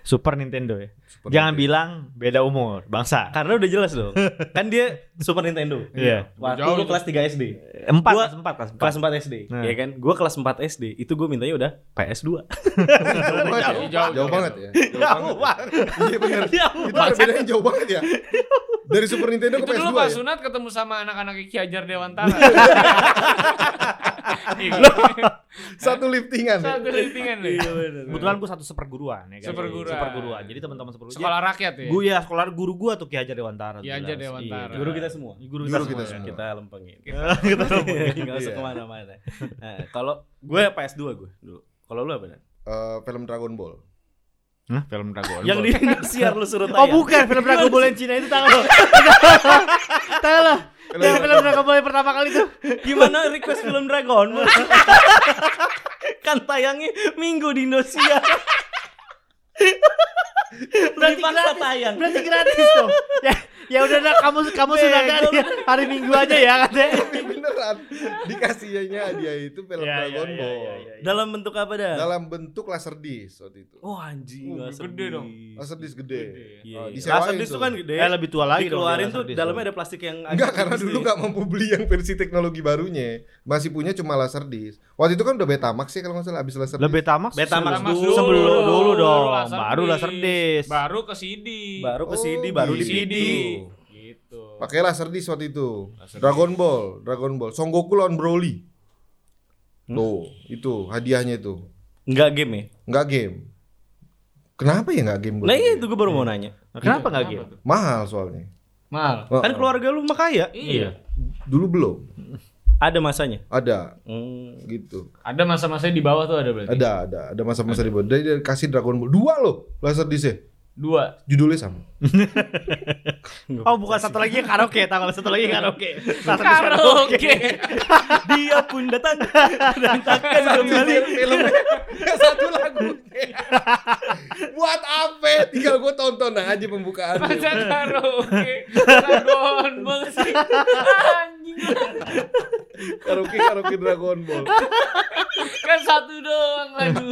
Speaker 3: Super Nintendo ya.
Speaker 2: Super
Speaker 3: Jangan
Speaker 2: Nintendo.
Speaker 3: bilang beda umur, bangsa.
Speaker 1: Karena udah jelas dong. kan dia Super Nintendo.
Speaker 3: Iya.
Speaker 1: Waktu
Speaker 5: Jauh
Speaker 1: lu
Speaker 5: tuh.
Speaker 1: kelas 3 SD.
Speaker 3: Empat,
Speaker 1: Gua-
Speaker 3: kelas empat, kelas empat.
Speaker 1: Kelas 4 SD,
Speaker 3: Nah.
Speaker 1: ya kan? Gua kelas 4 SD, itu gue mintanya udah PS2.
Speaker 2: Jauh banget ya?
Speaker 5: Jauh, jauh,
Speaker 2: Jauh
Speaker 5: jauh.
Speaker 2: banget ya.
Speaker 3: Jauh banget.
Speaker 2: Iya benar.
Speaker 3: Jauh
Speaker 2: Itu ada bedanya jauh banget ya. Dari Super Nintendo ke
Speaker 5: itu
Speaker 2: PS2.
Speaker 5: dulu
Speaker 2: ya?
Speaker 5: pas sunat ketemu sama anak-anak Ki Hajar Dewantara. Iya.
Speaker 2: Satu liftingan. ya?
Speaker 5: Satu liftingan nih.
Speaker 1: Iya,
Speaker 3: Kebetulan gua satu seperguruan ya kan.
Speaker 5: Seperguruan.
Speaker 3: Seperguruan. Jadi teman-teman seperguruan.
Speaker 5: Sekolah rakyat ya.
Speaker 3: Gue ya sekolah guru gua tuh Ki Hajar Dewantara.
Speaker 5: Ki Hajar
Speaker 3: jelas.
Speaker 5: Dewantara.
Speaker 3: Iya.
Speaker 1: Guru kita semua.
Speaker 3: Guru kita
Speaker 2: Guru kita
Speaker 3: semua.
Speaker 2: semua.
Speaker 1: Kita lempengin.
Speaker 3: Kita semua.
Speaker 1: Enggak usah
Speaker 2: Iya.
Speaker 1: kemana-mana. Nah, kalau gue PS2 gue dulu. Kalau lu apa? Dan?
Speaker 2: Eh, film Dragon Ball.
Speaker 3: Hah, film Dragon
Speaker 1: Yang di Indosiar lu
Speaker 3: Oh
Speaker 1: suruh tayang.
Speaker 3: bukan, film Dragon Ball yang Cina itu tanggal lo. Tanggal [LAUGHS] lo.
Speaker 2: Film
Speaker 3: Yang Iya, film Dragon Ball yang pertama kali tuh.
Speaker 1: Gimana request film Dragon? Ball? kan tayangnya minggu di Indosiar.
Speaker 3: Berarti
Speaker 1: Dipaksa
Speaker 3: gratis.
Speaker 1: tayang.
Speaker 3: Berarti gratis tuh. Ya, ya udah nak kamu kamu sudah ada di hari Minggu aja ya katanya.
Speaker 2: Tapi beneran dikasihnya dia itu film
Speaker 3: Ya, ya,
Speaker 2: Dragon
Speaker 3: ya,
Speaker 2: Ball.
Speaker 3: ya, ya, ya.
Speaker 1: Dalam bentuk apa dah?
Speaker 2: Dalam bentuk laserdisc waktu itu.
Speaker 1: Oh anjing,
Speaker 5: Uh,
Speaker 1: laser
Speaker 5: gede dong.
Speaker 1: disc.
Speaker 2: Laserdisc gede.
Speaker 5: Gede.
Speaker 1: Iya,
Speaker 2: Oh,
Speaker 1: iya.
Speaker 2: disewain
Speaker 1: Laser disc
Speaker 2: tuh.
Speaker 1: tuh kan gede.
Speaker 3: Eh lebih tua lagi dong.
Speaker 1: Dikeluarin tuh dalamnya ada plastik yang agak
Speaker 2: Enggak karena
Speaker 1: tipis
Speaker 2: dulu
Speaker 1: tuh.
Speaker 2: nggak mampu beli yang versi teknologi barunya. Masih punya cuma laserdisc. Waktu itu kan udah Betamax ya kalau nggak salah abis laserdisc.
Speaker 3: lebih tamak
Speaker 1: Betamax
Speaker 5: Pertama
Speaker 1: dulu.
Speaker 3: sebelum dulu, dong
Speaker 5: Laserdisc.
Speaker 3: baru laserdisc
Speaker 5: Baru ke CD.
Speaker 1: baru ke
Speaker 2: Oh,
Speaker 1: CD, baru di
Speaker 2: gitu.
Speaker 1: CD.
Speaker 5: Gitu.
Speaker 2: Pakai laserdisc waktu itu.
Speaker 5: Laserdisc.
Speaker 2: Dragon Ball, Dragon Ball. Son Goku lawan Broly. Tuh, itu hadiahnya itu.
Speaker 1: Enggak game ya?
Speaker 2: Nggak game. Kenapa ya nggak game gue?
Speaker 1: Nah iya itu gue baru mau nanya.
Speaker 3: kenapa nggak gitu
Speaker 2: Mahal soalnya.
Speaker 5: Mahal.
Speaker 2: Oh,
Speaker 1: Kan keluarga lu mah kaya.
Speaker 5: Iya.
Speaker 2: dulu belum
Speaker 1: Ada masanya.
Speaker 2: ada
Speaker 1: Hmm.
Speaker 2: gitu.
Speaker 5: Ada masa-masanya di bawah tuh ada berarti.
Speaker 2: Ada ada ada masa-masa di bawah. Dari dari kasih Dragon Ball dua loh laser disc
Speaker 5: Dua.
Speaker 2: Judulnya sama.
Speaker 3: oh bukan satu lagi yang karaoke tanggal satu lagi karaoke Laserdisc
Speaker 1: [LAUGHS] Dia pun datang dan takkan kembali.
Speaker 2: filmnya satu
Speaker 1: [LAUGHS]
Speaker 2: lagunya. Buat apa? Tinggal gue tonton aja pembukaan.
Speaker 5: Masa karaoke. Dragon Ball sih. Anjing.
Speaker 2: Karaoke karaoke Dragon Ball.
Speaker 5: Kan satu doang lagu.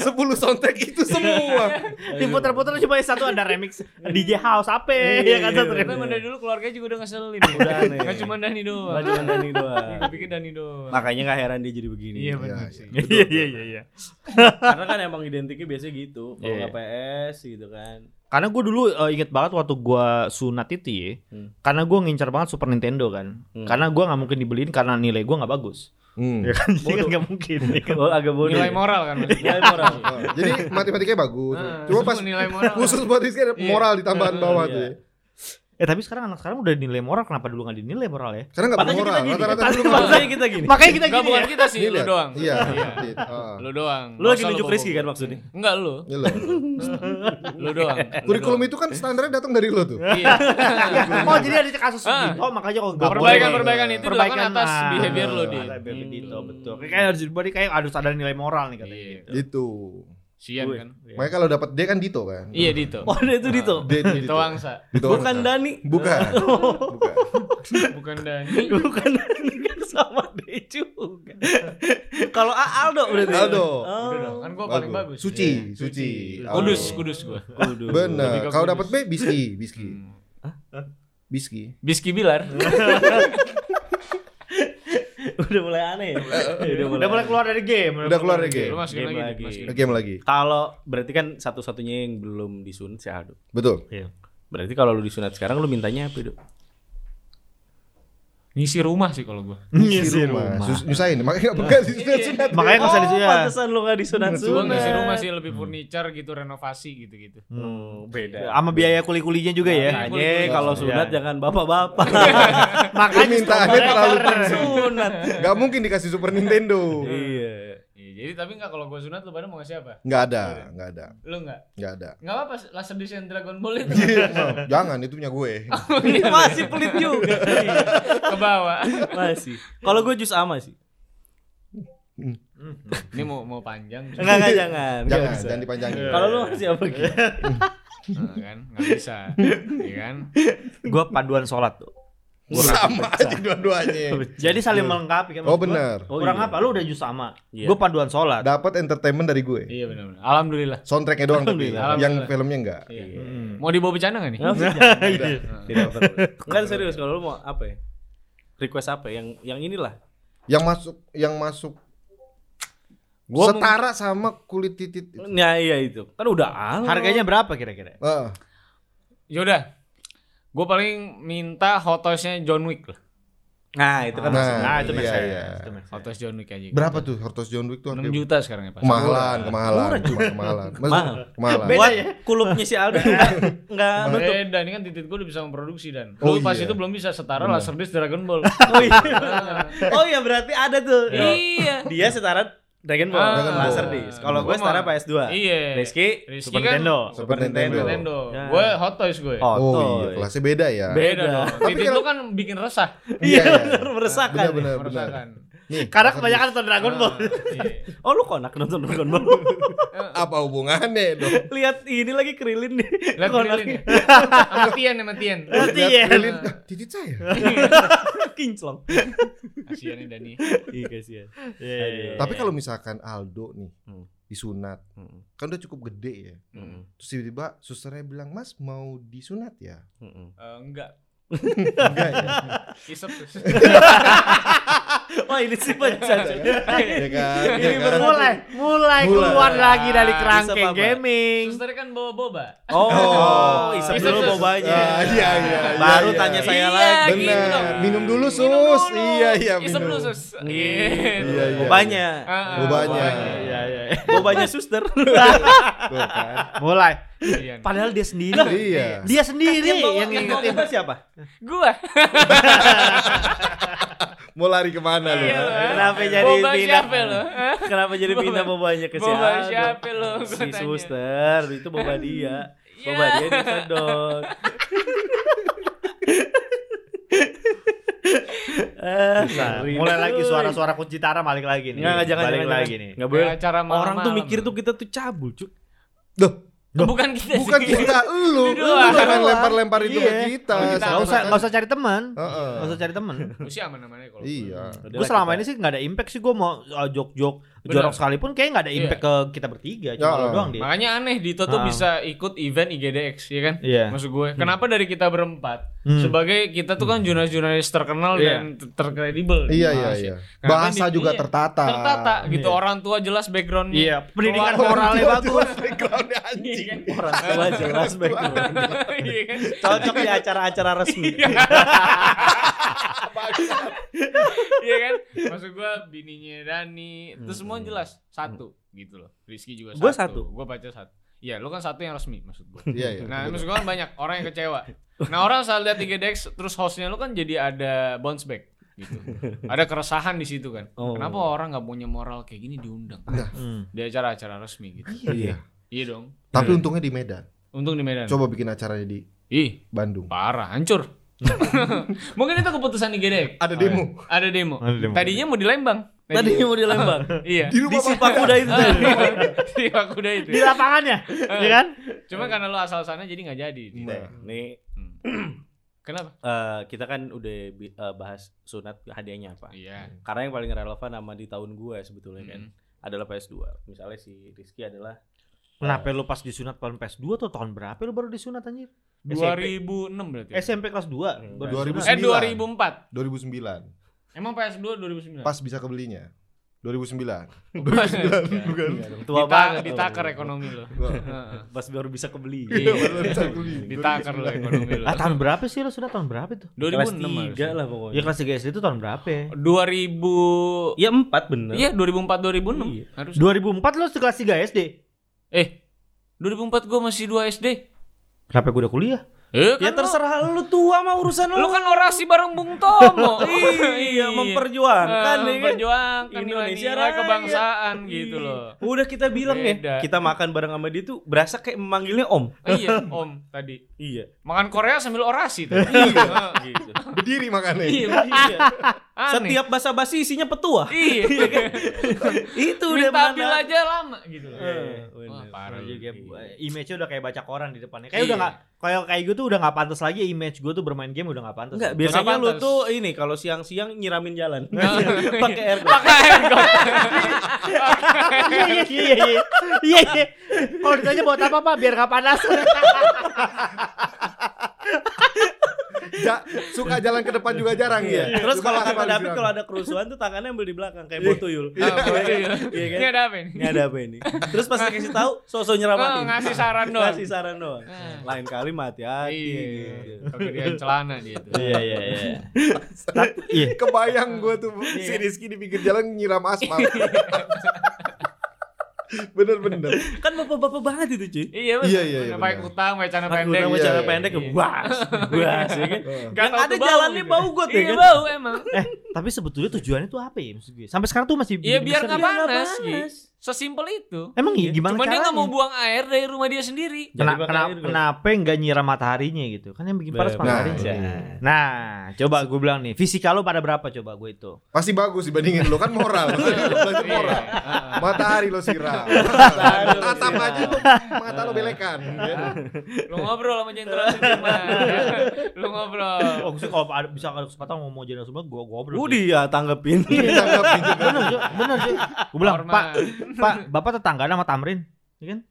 Speaker 2: Sepuluh soundtrack itu semua.
Speaker 3: diputer-puter cuma satu ada remix DJ house apa ya kan satu
Speaker 5: Tapi emang
Speaker 3: remix
Speaker 5: dari dulu keluarga juga udah ngeselin.
Speaker 1: Udah aneh.
Speaker 5: Gak cuma Dani doang.
Speaker 1: Cuma Dani doang.
Speaker 5: Gua pikir Dani doang.
Speaker 1: Makanya gak heran dia jadi begini.
Speaker 5: Iya
Speaker 2: Iya,
Speaker 5: benar
Speaker 2: iya.
Speaker 5: sih.
Speaker 3: iya iya iya iya
Speaker 1: Karena kan emang identiknya biasanya gitu. Kalau
Speaker 3: Iya.
Speaker 1: nggak PS gitu kan.
Speaker 3: karena gue dulu eh, inget banget waktu gue sunat itu ya
Speaker 1: Hmm.
Speaker 3: karena gue ngincar banget Super Nintendo kan
Speaker 1: Hmm.
Speaker 3: karena gue nggak mungkin dibeliin karena nilai gue nggak bagus
Speaker 2: Hmm.
Speaker 3: ya kan jadi kan nggak mungkin ya
Speaker 1: [LAUGHS]
Speaker 3: kan?
Speaker 1: Oh, agak bodoh.
Speaker 5: Nilai
Speaker 1: ya.
Speaker 5: moral kan maksudnya.
Speaker 1: Nilai moral.
Speaker 2: Oh, jadi matematiknya bagus. Cuma
Speaker 5: Heeh, Ah, semua
Speaker 2: pas
Speaker 5: nilai moral.
Speaker 2: khusus buat Rizky ada
Speaker 5: Iya.
Speaker 2: moral di tambahan bawah
Speaker 1: Iya.
Speaker 2: tuh. ya.
Speaker 3: Eh tapi sekarang anak sekarang udah dinilai moral, kenapa dulu nggak dinilai moral ya?
Speaker 2: Karena nggak
Speaker 1: Makanya
Speaker 2: moral,
Speaker 1: kita gini.
Speaker 2: rata-rata
Speaker 1: Makanya
Speaker 2: dulu nggak-
Speaker 1: Makanya kita gini.
Speaker 3: [LAUGHS] Makanya kita
Speaker 5: Enggak
Speaker 3: gini
Speaker 5: bukan
Speaker 3: ya.
Speaker 5: kita sih,
Speaker 2: Ini
Speaker 5: lu
Speaker 2: lihat.
Speaker 5: doang.
Speaker 2: Iya.
Speaker 5: Iya.
Speaker 2: Dit, ah.
Speaker 5: Lu Iya. doang.
Speaker 3: Lu lagi
Speaker 5: Masa
Speaker 3: nunjuk Rizky kan
Speaker 5: bobo-bobo?
Speaker 3: maksudnya?
Speaker 5: Enggak lu.
Speaker 2: Ini loh.
Speaker 5: Lu doang.
Speaker 2: Kurikulum itu kan standarnya datang dari lo tuh.
Speaker 5: Iya.
Speaker 3: Oh jadi ada kasus
Speaker 5: Ah.
Speaker 3: begini. Oh makanya kok nggak boleh.
Speaker 5: Perbaikan-perbaikan itu perbaikan
Speaker 3: Perbaikan
Speaker 5: atas
Speaker 3: ah,
Speaker 5: behavior lu
Speaker 2: betul.
Speaker 5: di.
Speaker 3: Ada behavior Dito, betul. Kayak harus diberi kayak harus ada nilai moral nih katanya.
Speaker 5: Iya.
Speaker 2: Gitu.
Speaker 5: Sian
Speaker 3: Gue.
Speaker 5: kan.
Speaker 3: Iya.
Speaker 2: Makanya kalau dapat D kan Dito kan.
Speaker 5: Iya Dito.
Speaker 1: Oh, ada itu Dito.
Speaker 2: D itu
Speaker 5: Dito Oh. Wangsa.
Speaker 2: iya, Dito
Speaker 1: Bukan
Speaker 2: Wangsa.
Speaker 1: Dani. [LAUGHS]
Speaker 5: [LAUGHS]
Speaker 2: Bukan. Bukan.
Speaker 5: Bukan Dani.
Speaker 1: Bukan Dani kan sama deh juga. Kalau A Aldo berarti.
Speaker 2: Aldo.
Speaker 1: Oh.
Speaker 5: Kan gua paling bagus.
Speaker 2: Suci, Oh.
Speaker 5: Iya.
Speaker 2: suci. Aldo.
Speaker 5: Kudus, kudus gua.
Speaker 3: Kudu.
Speaker 5: Lebih ke
Speaker 2: Benar. Kalau
Speaker 5: kudus. Hmm.
Speaker 2: dapat B Biski, Biski. Biski.
Speaker 5: Biski Bilar.
Speaker 1: [LAUGHS] Udah mulai aneh. ya? Udah
Speaker 3: Udah mulai keluar dari game.
Speaker 2: Udah keluar dari
Speaker 5: Lu
Speaker 2: game.
Speaker 5: masukin
Speaker 1: Game
Speaker 5: lagi.
Speaker 1: lagi.
Speaker 5: Dit, masukin.
Speaker 2: Game lagi.
Speaker 1: Kalau berarti kan satu-satunya yang belum disunat si Aldo.
Speaker 2: Betul.
Speaker 3: Iya.
Speaker 1: Berarti kalau lu disunat sekarang lu mintanya apa, Do?
Speaker 5: Ngisi rumah sih kalau gua.
Speaker 3: Ngisi rumah.
Speaker 2: Sus- Nyusahin. Makanya enggak
Speaker 5: Iya.
Speaker 2: disunat-sunat.
Speaker 3: Makanya nggak usah ya. disunat.
Speaker 1: Oh, pantesan lu gak
Speaker 5: Gua
Speaker 1: disunat-sunat.
Speaker 5: ngisi rumah sih lebih furniture gitu, renovasi gitu-gitu.
Speaker 3: Hmm.
Speaker 1: Beda.
Speaker 3: Sama biaya kuli-kulinya juga ya.
Speaker 1: Makanya Eh, kalau
Speaker 3: Iya.
Speaker 1: sunat jangan bapak-bapak.
Speaker 3: Makanya
Speaker 2: Permintaannya terlalu
Speaker 1: Jangan [LAUGHS] sunat.
Speaker 2: Gak mungkin dikasih Super Nintendo.
Speaker 1: Iya.
Speaker 5: Iya, jadi tapi enggak kalau gua sunat lu pada mau ngasih apa?
Speaker 2: Nggak ada, nggak ada,
Speaker 5: Lu enggak?
Speaker 2: nggak ada.
Speaker 5: Enggak apa-apa laser design Dragon Ball itu
Speaker 2: Mau, Jangan itu punya
Speaker 5: [LAUGHS]
Speaker 2: gue.
Speaker 1: Ini masih pelit juga.
Speaker 5: ke bawah.
Speaker 1: masih. Kalau gue jus ama sih.
Speaker 5: Ini mau mau panjang
Speaker 1: Enggak enggak
Speaker 5: Iya,
Speaker 1: jangan. Nggak
Speaker 2: Jangan,
Speaker 1: bisa.
Speaker 2: jangan dipanjangin.
Speaker 1: Kalau lu masih apa gitu?
Speaker 5: Nah, kan nggak bisa. Iya kan?
Speaker 3: Gue paduan sholat tuh.
Speaker 5: Iya,
Speaker 2: sama aja dua-duanya.
Speaker 3: Jadi saling melengkapi kan.
Speaker 2: Oh
Speaker 3: maksud gua.
Speaker 2: benar.
Speaker 1: Oh,
Speaker 3: Kurang
Speaker 1: iya.
Speaker 3: apa? Lu udah jus sama.
Speaker 1: Iya.
Speaker 3: Gue paduan sholat.
Speaker 2: Dapat entertainment dari gue.
Speaker 5: Iya benar-benar. Alhamdulillah.
Speaker 2: Soundtracknya doang tapi
Speaker 5: Alhamdulillah.
Speaker 2: yang filmnya enggak.
Speaker 5: Iya.
Speaker 3: Hmm.
Speaker 5: Mau dibawa bercanda nggak nih?
Speaker 1: Nggak usah, jangan.
Speaker 2: Udah.
Speaker 1: Tidak perlu. Enggak serius kalau lu mau apa ya? Request apa ya? yang yang inilah.
Speaker 2: Yang masuk yang masuk
Speaker 5: Gua mau-
Speaker 2: setara sama kulit titit itu.
Speaker 1: Nah, iya itu. Kan udah
Speaker 2: Oh.
Speaker 1: al.
Speaker 3: Harganya berapa kira-kira?
Speaker 2: Ah,
Speaker 5: Yaudah. Gue Ya paling minta hot toys-nya John Wick lah.
Speaker 1: Nah, itu kan
Speaker 2: Nah.
Speaker 1: maksudnya.
Speaker 3: Nah, itu
Speaker 2: iya,
Speaker 3: makes sense.
Speaker 2: iya.
Speaker 3: Itu makes sense.
Speaker 5: Hot toys John Wick aja.
Speaker 2: berapa tuh Hortos John Wick tuh
Speaker 5: 6
Speaker 2: harganya?
Speaker 5: juta sekarang ya Pak.
Speaker 2: Kemahalan, kemahalan, cuma kemahalan. Mas,
Speaker 1: Mahal.
Speaker 2: kemahalan.
Speaker 3: Beda
Speaker 1: Buat
Speaker 3: ya?
Speaker 1: kulupnya si Aldo enggak enggak nutup.
Speaker 5: Eh, dan ini kan titik gue udah bisa memproduksi dan
Speaker 2: Oh,
Speaker 5: lu pas
Speaker 2: iya.
Speaker 5: itu belum bisa setara laser disc Dragon Ball.
Speaker 1: Oh
Speaker 3: [LAUGHS]
Speaker 1: iya. Oh iya berarti ada tuh.
Speaker 5: iya.
Speaker 1: Dia setara Dragon Ball,
Speaker 5: Ah.
Speaker 1: laser
Speaker 2: Dragon Ball.
Speaker 1: disc. Kalau gue
Speaker 5: Gua
Speaker 1: setara
Speaker 5: mah-
Speaker 1: PS2.
Speaker 5: Iya.
Speaker 1: Rizky,
Speaker 5: Rizky
Speaker 3: Super
Speaker 5: kan
Speaker 3: Nintendo.
Speaker 2: Super Nintendo.
Speaker 5: Nintendo.
Speaker 1: Ya.
Speaker 5: Gue Hot Toys gue.
Speaker 3: Oh,
Speaker 2: Oh iya,
Speaker 3: toy.
Speaker 1: [LAUGHS]
Speaker 2: kelasnya beda ya.
Speaker 3: [LAUGHS]
Speaker 1: Beda.
Speaker 5: Beda. dong.
Speaker 2: Tapi
Speaker 5: Titik
Speaker 2: kalau-
Speaker 5: lu kan bikin resah.
Speaker 2: Iya.
Speaker 1: Iya, bener, meresahkan.
Speaker 2: Benar benar benar.
Speaker 5: Meresahkan.
Speaker 2: Nih,
Speaker 3: Karena
Speaker 2: Hortos-
Speaker 3: kebanyakan nonton Dragon Ball.
Speaker 5: Iya.
Speaker 1: Oh lu konak nonton Dragon
Speaker 3: [LAUGHS]
Speaker 1: Ball.
Speaker 2: apa hubungannya dong?
Speaker 1: Lihat ini lagi kerilin nih.
Speaker 5: Lihat
Speaker 1: Konak.
Speaker 5: Krilin ya. Sama Tian sama Tian.
Speaker 3: Berarti Iya,
Speaker 2: Lihat
Speaker 3: ya.
Speaker 2: lilin, "Ah, titit saya.
Speaker 1: [LAUGHS] Kinclong.
Speaker 5: Kasihan nih Dani. Eh,
Speaker 1: Iya kasihan.
Speaker 3: Iya, iya, iya.
Speaker 2: Tapi kalau misalkan Aldo nih
Speaker 1: Hmm.
Speaker 2: disunat,
Speaker 1: Mm-mm.
Speaker 2: kan udah cukup gede ya.
Speaker 3: Hmm.
Speaker 1: Mm-mm.
Speaker 2: Terus tiba-tiba susternya bilang, "Mas mau disunat ya?"
Speaker 1: Mm-mm.
Speaker 5: Eh, enggak.
Speaker 2: Enggak ya.
Speaker 5: Isep.
Speaker 1: Wah Oh, ini sih pencacat.
Speaker 3: [LAUGHS]
Speaker 2: ya kan?
Speaker 3: Iya.
Speaker 2: ya
Speaker 1: Ini
Speaker 2: kan?
Speaker 3: mulai, mulai
Speaker 2: Mulai.
Speaker 3: keluar lagi dari
Speaker 5: Bisa,
Speaker 3: kerangkeng
Speaker 1: Papa.
Speaker 3: gaming.
Speaker 5: Suster kan bawa boba.
Speaker 1: Oh,
Speaker 2: Oh.
Speaker 1: isep
Speaker 5: Isep
Speaker 1: dulu
Speaker 5: dulu.
Speaker 2: Ah,
Speaker 1: bobanya.
Speaker 2: iya iya. iya,
Speaker 1: Baru
Speaker 2: iya.
Speaker 1: tanya saya
Speaker 5: Iya.
Speaker 1: lagi.
Speaker 5: gitu dong.
Speaker 2: Benar. Minum dulu sus.
Speaker 5: dulu.
Speaker 2: Iya iya
Speaker 5: Isep
Speaker 2: minum.
Speaker 5: lu sus.
Speaker 2: Iya, iya.
Speaker 1: Bobanya.
Speaker 5: Ah,
Speaker 2: Bobanya.
Speaker 3: Iya, iya. iya.
Speaker 1: Bobanya suster.
Speaker 2: Tuh kan.
Speaker 3: Mulai.
Speaker 5: Iya.
Speaker 3: Padahal dia sendiri. Kan
Speaker 2: Iya.
Speaker 3: Dia sendiri
Speaker 1: Yang bawa-
Speaker 3: yang
Speaker 1: yang bawa
Speaker 3: ngingetin.
Speaker 1: boba siapa?
Speaker 5: Gua.
Speaker 2: Mau lari kemana lu?
Speaker 5: Iya, lu.
Speaker 1: [LAUGHS] Kenapa jadi
Speaker 5: Boba
Speaker 1: pindah?
Speaker 5: siapa lu? Hah?
Speaker 1: Kenapa jadi
Speaker 5: Boba-
Speaker 1: pindah bobanya ke
Speaker 5: boba
Speaker 1: Aldo?
Speaker 5: siapa lu? Gua
Speaker 1: Si
Speaker 5: tanya.
Speaker 1: suster, itu boba dia.
Speaker 5: Iya.
Speaker 1: Boba dia disedot. Eh,
Speaker 3: Nah,
Speaker 1: sorry.
Speaker 3: mulai lagi suara-suara kunci tara balik lagi nih.
Speaker 1: Nggak, nggak, jangan,
Speaker 3: balik
Speaker 1: jangan,
Speaker 3: lagi
Speaker 1: jangan.
Speaker 3: nih.
Speaker 2: Iya,
Speaker 1: Nggak boleh.
Speaker 5: Kayak acara malam-malam.
Speaker 1: Orang tuh mikir tuh kita tuh cabul, cuy.
Speaker 2: Duh,
Speaker 5: Bukan kita sih.
Speaker 2: bukan kita lu. Lu
Speaker 5: doang.
Speaker 2: jangan lempar-lempar itu ke
Speaker 3: Iya.
Speaker 2: kita.
Speaker 3: Nggak usah nggak usah cari teman.
Speaker 2: Heeh.
Speaker 3: Nggak usah cari teman.
Speaker 5: Usia aman namanya kalau.
Speaker 2: Iya.
Speaker 3: Gue selama ini sih nggak ada impact sih gue mau uh, jok-jok
Speaker 5: Benar.
Speaker 3: jorok sekalipun kayak nggak ada impact ke kita bertiga cuma
Speaker 2: Ya.
Speaker 3: lo doang deh.
Speaker 5: Iya. Makanya aneh Dito
Speaker 3: Iya.
Speaker 5: tuh
Speaker 3: Ah.
Speaker 5: bisa ikut event IGDX ya kan?
Speaker 3: Iya.
Speaker 5: Maksud gue, kenapa dari kita berempat
Speaker 3: Hmm.
Speaker 5: sebagai kita tuh kan jurnalis-jurnalis terkenal
Speaker 3: Iya.
Speaker 5: dan ter- terkredibel.
Speaker 2: Iya
Speaker 5: di
Speaker 2: iya
Speaker 5: Malaysia.
Speaker 2: iya.
Speaker 5: Kenapa
Speaker 2: Bahasa
Speaker 5: di-
Speaker 1: kan
Speaker 2: juga
Speaker 5: iya,
Speaker 2: tertata.
Speaker 5: Tertata gitu,
Speaker 3: Iya.
Speaker 5: orang tua jelas background
Speaker 3: Iya, pendidikan
Speaker 5: Keluar-
Speaker 3: moralnya
Speaker 5: [LAUGHS]
Speaker 3: bagus.
Speaker 2: Backgroundnya anjing.
Speaker 1: Orang tua jelas background.
Speaker 5: kan? Iya kan?
Speaker 1: Cocok di acara-acara resmi.
Speaker 5: Iya kan? Maksud gue bininya Dani, itu semua jelas satu gitu loh. Rizky juga satu.
Speaker 1: Gua satu.
Speaker 5: Gue baca satu. Iya, lu kan satu yang resmi maksud gue.
Speaker 2: Iya iya.
Speaker 5: Nah,
Speaker 2: betul.
Speaker 5: maksud gue kan banyak orang yang kecewa. Nah orang saat lihat 3DX terus hostnya lu kan jadi ada bounce back gitu. Ada keresahan di situ kan.
Speaker 3: Oh.
Speaker 5: Kenapa orang nggak punya moral kayak gini diundang
Speaker 3: Hmm.
Speaker 5: di acara-acara resmi gitu?
Speaker 2: Nah. Iya.
Speaker 5: Iya dong.
Speaker 2: Tapi untungnya di Medan.
Speaker 5: Untung di Medan.
Speaker 2: Coba bikin acaranya di
Speaker 5: Ih,
Speaker 2: Bandung. [LAUGHS]
Speaker 5: parah, hancur. Mungkin itu keputusan di GDX.
Speaker 2: Ada demo.
Speaker 5: Ada demo.
Speaker 3: Ada demo.
Speaker 5: Tadinya mau di Lembang.
Speaker 6: Tadi mau di Lembang.
Speaker 5: iya.
Speaker 2: Di
Speaker 6: Di
Speaker 2: rumah
Speaker 6: Sipak Kuda itu.
Speaker 5: Ah, di Pakuda itu.
Speaker 3: Di lapangannya,
Speaker 5: Eh.
Speaker 3: ya kan?
Speaker 5: Cuma karena lo asal sana jadi nggak jadi.
Speaker 1: Iya.
Speaker 5: Hmm.
Speaker 2: Nah,
Speaker 1: Nih
Speaker 5: Kenapa?
Speaker 1: eh, kita kan udah bi- eh, bahas sunat hadiahnya apa.
Speaker 5: Iya.
Speaker 1: Karena yang paling relevan sama di tahun gue sebetulnya kan
Speaker 5: Mm.
Speaker 1: adalah PS2. Misalnya si Rizky adalah
Speaker 3: Kenapa lu pas disunat tahun PS2 atau tahun berapa lu baru disunat anjir? SMP.
Speaker 5: 2006 berarti. ya?
Speaker 3: SMP kelas 2 baru disunat.
Speaker 5: eh
Speaker 2: 2009.
Speaker 5: 2004.
Speaker 2: 2009.
Speaker 1: Iya.
Speaker 5: Emang PS2 2009. [LAUGHS]
Speaker 2: Pas bisa kebelinya. 2009.
Speaker 5: bukan.
Speaker 1: tua banget.
Speaker 5: Ditaker ekonomi lo. Heeh.
Speaker 1: Pas baru bisa kebeli.
Speaker 5: Iya.
Speaker 2: Baru bisa kebeli.
Speaker 5: Ditaker lo ekonomi lo.
Speaker 3: Ah tahun berapa sih lu sunat tahun berapa itu?
Speaker 5: 2006
Speaker 1: Kelas
Speaker 5: harusnya. Iya,
Speaker 1: 3 lah
Speaker 3: Ya
Speaker 1: pokoknya.
Speaker 3: kelas 3 SD itu tahun berapa ya?
Speaker 5: 2000
Speaker 1: Ya empat bener.
Speaker 5: Iya 2004 2006
Speaker 1: Iya.
Speaker 5: harus.
Speaker 3: 2004 lu kelas 3 SD.
Speaker 5: Eh 2004 gue masih 2 SD.
Speaker 3: Kenapa gue udah kuliah?
Speaker 5: Eh, kan
Speaker 1: Ya terserah lu tua mah urusan
Speaker 5: Lu, lu
Speaker 1: lu.
Speaker 5: kan orasi bareng Bung
Speaker 1: [LAUGHS]
Speaker 5: Tomo. iya,
Speaker 1: memperjuangkan ya kan?
Speaker 5: memperjuangkan
Speaker 1: Indonesia
Speaker 5: nilai-nilai
Speaker 1: Raya.
Speaker 5: kebangsaan gitu
Speaker 1: Iya.
Speaker 5: loh.
Speaker 1: Udah kita bilang
Speaker 5: Beda.
Speaker 1: ya, kita makan bareng sama dia tuh berasa kayak memanggilnya om.
Speaker 5: iya, Om tadi.
Speaker 1: Iya.
Speaker 5: Makan Korea sambil orasi tuh. iya. [LAUGHS]
Speaker 1: Gitu.
Speaker 2: Berdiri makanya.
Speaker 1: iya. iya. Setiap basa-basi isinya petua.
Speaker 5: iya.
Speaker 1: [LAUGHS] Itu udah
Speaker 5: Minta bil aja lama gitu loh.
Speaker 1: Eh,
Speaker 5: Wah,
Speaker 1: bener.
Speaker 5: parah
Speaker 3: [LAUGHS]
Speaker 1: Iya.
Speaker 5: juga.
Speaker 3: Image-nya udah kayak baca koran di depannya. Kayak
Speaker 5: Iya.
Speaker 3: udah nggak kayak kayak gue tuh udah nggak pantas lagi image gue tuh bermain game udah nggak pantas.
Speaker 1: Enggak,
Speaker 3: Nggak
Speaker 1: biasanya lu
Speaker 5: pantas.
Speaker 1: tuh ini kalau siang-siang nyiramin jalan. [LAUGHS] Iya.
Speaker 5: Nah.
Speaker 1: Pakai air.
Speaker 5: Pakai ergot.
Speaker 3: Iya iya iya iya. Iya iya. Kalau ditanya buat apa Pak biar nggak panas.
Speaker 2: Ja- suka jalan ke depan juga jarang
Speaker 5: iya.
Speaker 2: ya.
Speaker 1: Iya. Terus
Speaker 2: Suka
Speaker 1: kalau
Speaker 2: lakukan
Speaker 1: kata David
Speaker 2: bilang.
Speaker 1: kalau ada kerusuhan tuh tangannya ambil di belakang kayak bau tuyul.
Speaker 5: Nah, berarti ya.
Speaker 1: Iya kan?
Speaker 5: Ini ada apa ini?
Speaker 1: Ini ada apa ini? Terus pas dikasih tahu sosok
Speaker 5: Oh,
Speaker 1: nyeramatin.
Speaker 5: ngasih saran doang.
Speaker 1: Ngasih saran doang.
Speaker 5: Ah.
Speaker 1: Lain kali mati hati.
Speaker 5: Iya.
Speaker 1: gitu.
Speaker 5: Pakai dia celana dia
Speaker 3: [LAUGHS]
Speaker 5: tuh.
Speaker 3: Iya iya iya. Tapi- Iya.
Speaker 2: Kebayang gue tuh
Speaker 1: Iya,
Speaker 2: si Rizky di pinggir jalan nyiram
Speaker 1: [LAUGHS]
Speaker 2: aspal. Bener-bener.
Speaker 1: Kan bapak-bapak banget itu, cuy.
Speaker 5: Iya,
Speaker 2: Iya, iya, iya,
Speaker 5: Pakai
Speaker 2: benar.
Speaker 5: kutang, pakai celana
Speaker 1: Aku
Speaker 5: pendek.
Speaker 1: nama
Speaker 2: Iya,
Speaker 1: cara
Speaker 2: iya.
Speaker 1: pendek
Speaker 5: Iya.
Speaker 1: bas, bas ya kan.
Speaker 2: Heeh.
Speaker 5: Nggak
Speaker 1: Yang
Speaker 5: tahu
Speaker 1: ada
Speaker 5: tuh bau
Speaker 1: jalannya
Speaker 5: gitu.
Speaker 1: bau got ya
Speaker 5: Iya,
Speaker 1: kan?
Speaker 5: bau emang.
Speaker 3: Eh tapi sebetulnya tujuannya tuh apa ya maksud gue? Sampai sekarang tuh masih ya?
Speaker 5: Iya,
Speaker 3: bikin
Speaker 5: biar
Speaker 3: misteri.
Speaker 5: nggak panas. Gi. Sesimpel itu.
Speaker 3: Emang iya gimana
Speaker 5: Cuman dia
Speaker 3: caranya?
Speaker 5: nggak mau buang air dari rumah dia sendiri.
Speaker 1: Jadi
Speaker 3: Kena-
Speaker 1: bakal
Speaker 3: kena-
Speaker 1: air, Bos.
Speaker 3: kenapa nggak nyiram mataharinya gitu? Kan yang bikin panas
Speaker 1: Nah,
Speaker 3: mataharinya.
Speaker 2: iya.
Speaker 3: Nah, coba gue bilang nih, fisika lo pada berapa coba gue itu?
Speaker 2: Pasti bagus dibandingin lo kan moral. Makanya lu belajar
Speaker 5: Iya.
Speaker 2: moral. Matahari lo siram.
Speaker 1: lo Gitu.
Speaker 2: Atap
Speaker 1: siram.
Speaker 2: aja lo mata lo belekan. ya.
Speaker 5: Lu ngobrol sama jenderal
Speaker 3: [LAUGHS]
Speaker 5: Sudirman. Lu ngobrol.
Speaker 3: Oh, gue sih kalau ada- bisa ada kesempatan mau mau jadi semua gue goblok.
Speaker 1: Udah ya tanggepin.
Speaker 5: Oh,
Speaker 2: Ditanggapi juga.
Speaker 3: Bener, Cuk. bener sih. Gue bilang,
Speaker 5: Normal.
Speaker 3: Pak, Pak, Bapak tetangga sama Tamrin, ya kan?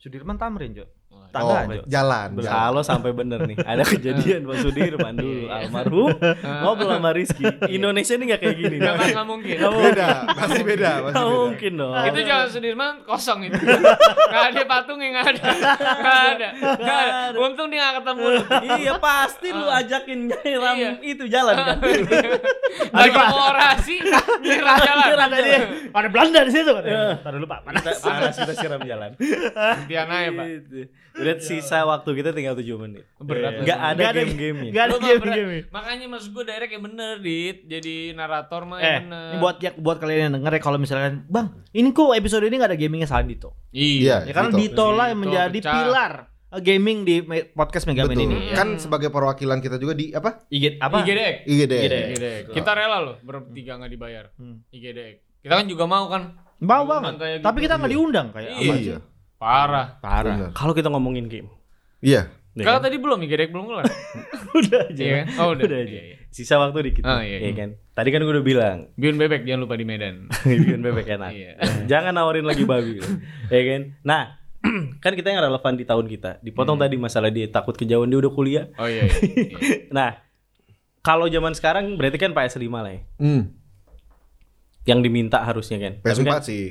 Speaker 3: Sudirman Tamrin, Cok. Tangga,
Speaker 2: Oh,
Speaker 3: Cok.
Speaker 2: jalan. jalan.
Speaker 1: Kalau sampai bener nih, ada kejadian Bang Sudirman dulu
Speaker 5: Iya.
Speaker 1: almarhum ngobrol sama Rizky. Indonesia ini nggak kayak gini.
Speaker 5: Nggak nggak mungkin.
Speaker 1: Nggak mungkin.
Speaker 2: Beda, masih beda, masih
Speaker 1: Nggak
Speaker 2: beda.
Speaker 1: mungkin dong.
Speaker 5: itu jalan Sudirman kosong
Speaker 3: [LAUGHS]
Speaker 5: itu nggak ada patungnya nggak ada nggak ada nggak ada untung dia nggak ketemu lu.
Speaker 1: iya pasti lu ajakin nyiram
Speaker 5: Ah. Iya.
Speaker 1: itu jalan kan.
Speaker 5: [LAUGHS] lagi mau
Speaker 3: [LAUGHS]
Speaker 5: orasi nyerah jalan Iya.
Speaker 1: Nyerah tadi.
Speaker 3: Ada Belanda di situ kan? Taruh dulu, Pak. Panas.
Speaker 1: Kita panas kita siram jalan.
Speaker 5: dia naik pak
Speaker 1: Gitu. Udah sisa waktu kita tinggal 7 menit.
Speaker 5: Berat
Speaker 1: Eh, nggak
Speaker 5: lagi.
Speaker 1: ada
Speaker 3: Nggak ada-
Speaker 1: game-gamenya.
Speaker 3: Gak ada
Speaker 5: Lu nggak
Speaker 3: game
Speaker 5: berat.
Speaker 3: game.
Speaker 5: makanya maksud gue direct yang bener dit jadi narator
Speaker 3: Eh,
Speaker 5: mah yang Iya, bener
Speaker 3: ini buat ya, buat kalian yang denger ya kalau misalkan, Bang, ini kok episode ini gak ada gamingnya selain Dito.
Speaker 5: iya
Speaker 3: Ya karena
Speaker 2: Dito.
Speaker 3: Dito lah yang
Speaker 5: Dito
Speaker 3: menjadi
Speaker 5: pecah. Iya.
Speaker 3: pilar eh, gaming di me- podcast Megaman
Speaker 2: Betul.
Speaker 3: ini.
Speaker 2: Kan sebagai perwakilan kita juga di apa?
Speaker 3: Igit apa?
Speaker 5: IGDX
Speaker 2: IGD.
Speaker 5: IGDX kita rela loh bertiga nggak dibayar
Speaker 3: Hmm.
Speaker 5: IGDX kita kan juga mau kan
Speaker 3: Bau
Speaker 5: Diundang
Speaker 3: banget.
Speaker 5: kayak
Speaker 3: Tapi
Speaker 5: gitu.
Speaker 3: kita nggak diundang kayak
Speaker 5: Iya.
Speaker 3: apa?
Speaker 2: Iya.
Speaker 5: parah
Speaker 3: Parah.
Speaker 2: [LAUGHS] Bener.
Speaker 1: Kalau kita ngomongin game.
Speaker 2: Iya.
Speaker 1: ya
Speaker 5: kalau
Speaker 1: kan?
Speaker 5: tadi belum IGDX belum keluar
Speaker 1: udah aja.
Speaker 5: iya kan oh udah,
Speaker 1: Udah aja.
Speaker 5: Iya, iya.
Speaker 1: Sisa waktu dikit.
Speaker 5: Ah, iya,
Speaker 1: ya
Speaker 5: iya.
Speaker 1: kan. Tadi kan gue udah bilang
Speaker 5: Bion bebek jangan lupa di Medan
Speaker 1: [LAUGHS] bikin bebek enak.
Speaker 5: Iya.
Speaker 1: Jangan nawarin lagi babi gitu. ya kan? Nah, [CLEARS THROAT] kan kita yang relevan di tahun kita. Dipotong
Speaker 5: Iya.
Speaker 1: tadi masalah dia takut kejauhan dia udah kuliah.
Speaker 5: oh iya, iya, iya.
Speaker 1: [LAUGHS] Nah, kalau zaman sekarang berarti kan PS5 lah ya.
Speaker 2: Hmm.
Speaker 1: Yang diminta harusnya kan. Tapi
Speaker 2: PS4
Speaker 1: kan
Speaker 2: sih.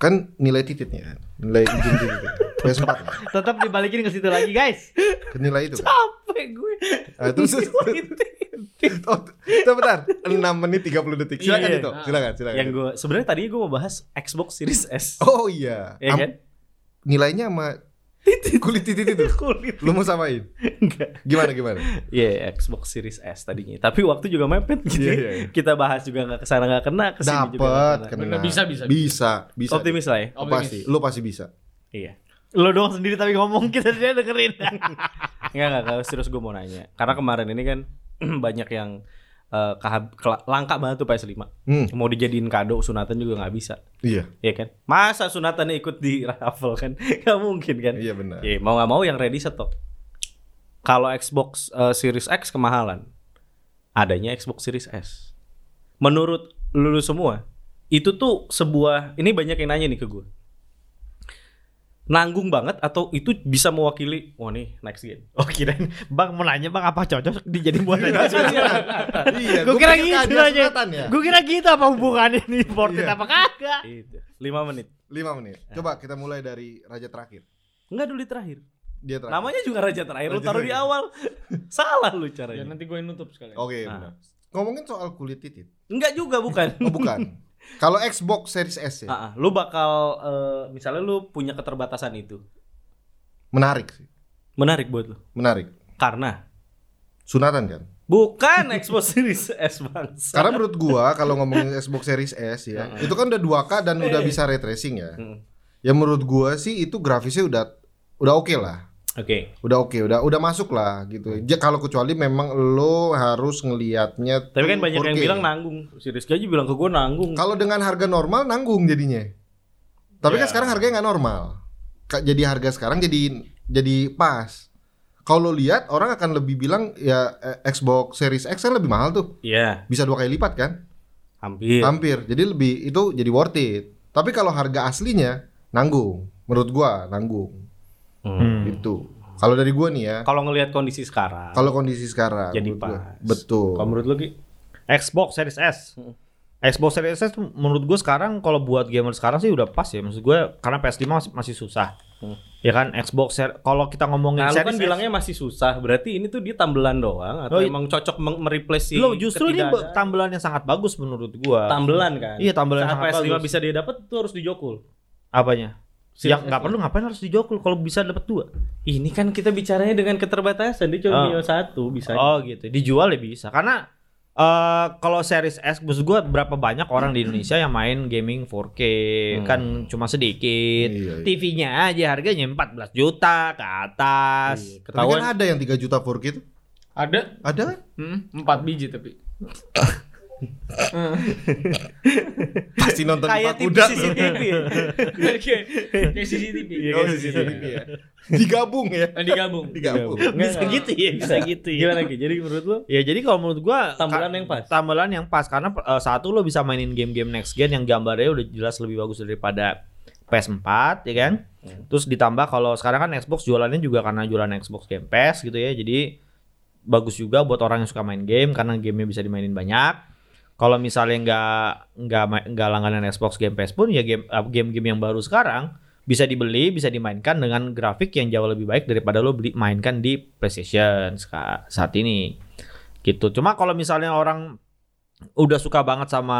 Speaker 2: Kan nilai tititnya kan. Nilai izin
Speaker 1: [LAUGHS]
Speaker 2: titit. PS4 lah.
Speaker 3: Tetap dibalikin ke situ lagi, guys.
Speaker 2: Ke nilai itu kan.
Speaker 1: capek gue.
Speaker 2: Ah, terus Oh, tuh bentar. 6 menit 30 detik. Silakan
Speaker 1: Iya.
Speaker 2: itu. Silakan, silakan.
Speaker 1: Yang gue sebenarnya tadinya gue mau bahas Xbox Series S.
Speaker 2: Oh iya.
Speaker 1: ya
Speaker 2: Oh, Am-
Speaker 1: kan?
Speaker 2: Nilainya sama Kulit titit itu.
Speaker 1: [LAUGHS] Kulit.
Speaker 2: Lu mau samain?
Speaker 1: Enggak.
Speaker 2: Gimana gimana?
Speaker 1: Iya, Xbox Series S tadinya. Tapi waktu juga mepet gitu.
Speaker 2: Iya,
Speaker 1: ya.
Speaker 2: iya, iya.
Speaker 1: Kita bahas juga nggak kesana nggak kena, kesini juga nggak
Speaker 2: Dapat
Speaker 1: kena.
Speaker 2: kena.
Speaker 5: Bener, bisa, bisa,
Speaker 2: Bisa, bisa.
Speaker 1: Optimis lah ya.
Speaker 2: Lu Pasti, lu pasti bisa.
Speaker 1: Iya.
Speaker 3: Lo doang sendiri tapi ngomong kita dia dengerin. [LAUGHS]
Speaker 1: Enggak enggak, enggak. serius gue mau nanya. Karena kemarin ini kan [CLEARS THROAT] banyak yang eh, kahab- kela- langka banget tuh PS5.
Speaker 2: Hmm,
Speaker 1: Mau dijadiin kado sunatan juga nggak bisa.
Speaker 2: iya.
Speaker 1: Iya kan? Masa sunatannya ikut di [LAUGHS] raffle kan? Gak mungkin kan?
Speaker 2: Iya benar.
Speaker 1: Iya, mau nggak mau yang ready stok. Kalau Xbox eh, Series X kemahalan, adanya Xbox Series S. Menurut lulu semua, itu tuh sebuah ini banyak yang nanya nih ke gue. Nanggung banget atau itu bisa mewakili, wah nih next gen.
Speaker 3: Oh kirain Bang mau nanya Bang apa cocok dijadiin buat aja.
Speaker 1: [LAUGHS]
Speaker 2: Iya,
Speaker 3: Gue kira
Speaker 2: pikir
Speaker 3: gitu
Speaker 2: keadilan
Speaker 3: aja.
Speaker 2: sunatan ya.
Speaker 3: Gue kira gitu apa hubungannya nih imported
Speaker 2: Iya.
Speaker 3: apa kagak?
Speaker 1: Itu. 5 menit.
Speaker 2: 5 menit. Coba kita mulai dari raja terakhir.
Speaker 1: Enggak dulu di terakhir.
Speaker 2: Dia terakhir.
Speaker 1: Namanya juga raja terakhir, lu
Speaker 2: Raja
Speaker 1: taruh di
Speaker 2: terakhir. [LAUGHS]
Speaker 1: awal. Salah lu
Speaker 5: Ya
Speaker 1: caranya.
Speaker 5: nanti gue nutup sekali.
Speaker 2: Oke,
Speaker 1: Nah.
Speaker 2: benar. Ngomongin soal kulit titit.
Speaker 1: Enggak
Speaker 2: [LAUGHS]
Speaker 1: juga bukan.
Speaker 2: Oh,
Speaker 1: [LAUGHS]
Speaker 2: bukan. Kalau Xbox Series S ya,
Speaker 1: Ah, ah. lu bakal eh, misalnya lu punya keterbatasan itu.
Speaker 2: menarik sih.
Speaker 1: Menarik buat lu.
Speaker 2: Menarik.
Speaker 1: Karena
Speaker 2: Sunatan kan? [LAUGHS]
Speaker 1: bukan Xbox Series S bangsa.
Speaker 2: Karena menurut gua kalau ngomongin Xbox Series S ya, itu kan udah 2K dan
Speaker 1: Iya,
Speaker 2: udah bisa ray tracing ya.
Speaker 1: Mm.
Speaker 2: Ya menurut gua sih itu grafisnya udah udah oke lah.
Speaker 1: Oke.
Speaker 2: Udah oke, udah udah masuk lah gitu. Ya kalau kecuali memang lo harus ngelihatnya
Speaker 1: Tapi
Speaker 2: tuh
Speaker 1: kan banyak yang
Speaker 2: 4K.
Speaker 1: bilang nanggung. Si Rizky aja bilang ke gue nanggung.
Speaker 2: kalau dengan harga normal nanggung jadinya. Tapi kan
Speaker 1: Iya.
Speaker 5: Ya.
Speaker 2: sekarang harganya nggak normal. Ka- Jadi harga sekarang jadi jadi pas. Kalau lo lihat orang akan lebih bilang ya eh, Xbox Series X kan lebih mahal tuh.
Speaker 1: Iya,
Speaker 2: Bisa dua kali lipat kan?
Speaker 1: hampir.
Speaker 2: hampir jadi lebih itu jadi worth it tapi kalau harga aslinya nanggung menurut gua nanggung
Speaker 1: Hmm.
Speaker 2: itu kalau dari gua nih ya
Speaker 1: Kalau ngelihat kondisi sekarang,
Speaker 2: kalau kondisi sekarang
Speaker 1: jadi
Speaker 2: menurut gua.
Speaker 1: pas.
Speaker 2: betul
Speaker 1: Kalau menurut lu Ki?
Speaker 3: Xbox Series S.
Speaker 1: Hmm.
Speaker 3: Xbox Series S tuh menurut gue sekarang kalau buat gamer sekarang sih udah pas ya. Maksud gue karena PS5 masih, masih susah. Ya kan Xbox Ser- kalau kita ngomongin
Speaker 1: Hmm. Nah, lu
Speaker 3: Series
Speaker 1: kan
Speaker 3: S-
Speaker 1: bilangnya masih susah. Berarti ini tuh dia tambelan doang
Speaker 3: Oh,
Speaker 1: atau
Speaker 3: i-
Speaker 1: emang cocok meng- mereplace si
Speaker 3: lo justru ini
Speaker 1: ketidakadaan?
Speaker 3: tambelan yang sangat bagus menurut gua.
Speaker 1: tambelan kan?
Speaker 3: Iya, tambelan
Speaker 1: Saat
Speaker 3: sangat
Speaker 1: PS5
Speaker 3: bagus.
Speaker 1: bisa dia dapat tuh harus dijokul.
Speaker 3: Apanya?
Speaker 1: Series
Speaker 3: yang nggak
Speaker 1: S.
Speaker 3: perlu ngapain harus dijokul kalau bisa dapat dua.
Speaker 1: Ini kan kita bicaranya dengan keterbatasan, dia
Speaker 3: Ah.
Speaker 1: cuma punya satu bisa.
Speaker 3: Oh gitu. Dijual ya bisa. Karena eh kalau series S maksud gua berapa banyak orang
Speaker 2: Hmm.
Speaker 3: di Indonesia yang main gaming 4K
Speaker 1: Hmm.
Speaker 3: kan cuma sedikit.
Speaker 2: Iya, iya.
Speaker 3: TV-nya aja harganya 14 juta ke atas.
Speaker 1: Iya,
Speaker 2: tapi
Speaker 1: ketahuan
Speaker 2: kan ada yang 3 juta 4K itu
Speaker 5: Ada?
Speaker 2: ada
Speaker 1: [LAUGHS]
Speaker 2: kan?
Speaker 5: Hmm, empat biji tapi.
Speaker 2: pasti nonton
Speaker 1: kayak
Speaker 2: Pak
Speaker 1: tim
Speaker 2: Kuda tuh.
Speaker 1: CCTV.
Speaker 5: Oke. Iya, Kayak CCTV.
Speaker 1: Iya,
Speaker 2: Oh,
Speaker 1: kan?
Speaker 2: CCTV ya. digabung ya
Speaker 5: Nah, digabung.
Speaker 2: digabung
Speaker 1: Nggak,
Speaker 3: Bisa
Speaker 1: nggak.
Speaker 3: gitu ya, bisa gitu ya.
Speaker 1: Gimana Ki? Jadi menurut lo
Speaker 3: Ya jadi kalau menurut gua
Speaker 1: Tambelan
Speaker 3: ka-
Speaker 1: yang pas.
Speaker 3: Tambelan yang pas karena eh, satu lo bisa mainin game-game next gen yang gambarnya udah jelas lebih bagus daripada PS4 ya kan.
Speaker 1: Hmm.
Speaker 3: Terus ditambah kalau sekarang kan Xbox jualannya juga karena jualan Xbox Game Pass gitu ya. Jadi bagus juga buat orang yang suka main game karena gamenya bisa dimainin banyak. Kalau misalnya nggak nggak ma- nggak langganan Xbox Game Pass pun ya game eh, game-game yang baru sekarang bisa dibeli, bisa dimainkan dengan grafik yang jauh lebih baik daripada lo beli mainkan di PlayStation seka- saat ini gitu. Cuma kalau misalnya orang udah suka banget sama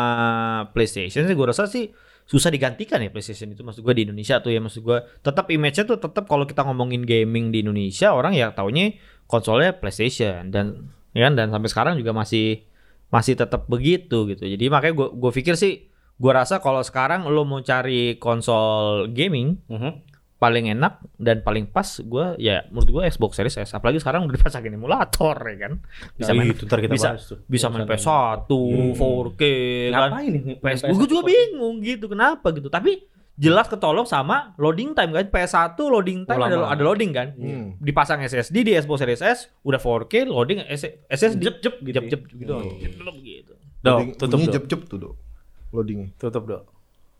Speaker 3: PlayStation sih gue rasa sih susah digantikan ya PlayStation itu maksud gue di Indonesia tuh ya maksud gue tetap image-nya tuh tetap kalau kita ngomongin gaming di Indonesia orang ya taunya konsolnya PlayStation dan ya kan dan sampai sekarang juga masih masih tetap begitu gitu. Jadi makanya gue gue pikir sih gue rasa kalau sekarang lo mau cari konsol gaming
Speaker 1: Mhm.
Speaker 3: paling enak dan paling pas gua ya menurut gua Xbox Series S apalagi sekarang udah dipasangin emulator ya kan bisa main
Speaker 1: Nah, itu ntar kita
Speaker 3: bisa
Speaker 1: bahas tuh.
Speaker 3: bisa main
Speaker 1: Urusan
Speaker 3: PS1
Speaker 1: Hmm.
Speaker 3: 4K kan
Speaker 1: Ngapain nih?
Speaker 3: PS gua juga bingung gitu kenapa gitu tapi jelas ketolong sama loading time kan PS1 loading time
Speaker 1: Oh,
Speaker 3: ada,
Speaker 1: lama.
Speaker 3: ada loading kan
Speaker 2: Hmm.
Speaker 3: dipasang SSD di Xbox Series S udah 4K loading S- SSD jep jep gitu jep jep gitu
Speaker 2: Oh.
Speaker 3: Jep, jep, gitu
Speaker 1: Dok, tutup
Speaker 2: bunyi
Speaker 1: dok.
Speaker 2: jep-jep tuh dok loading
Speaker 1: Tutup dok.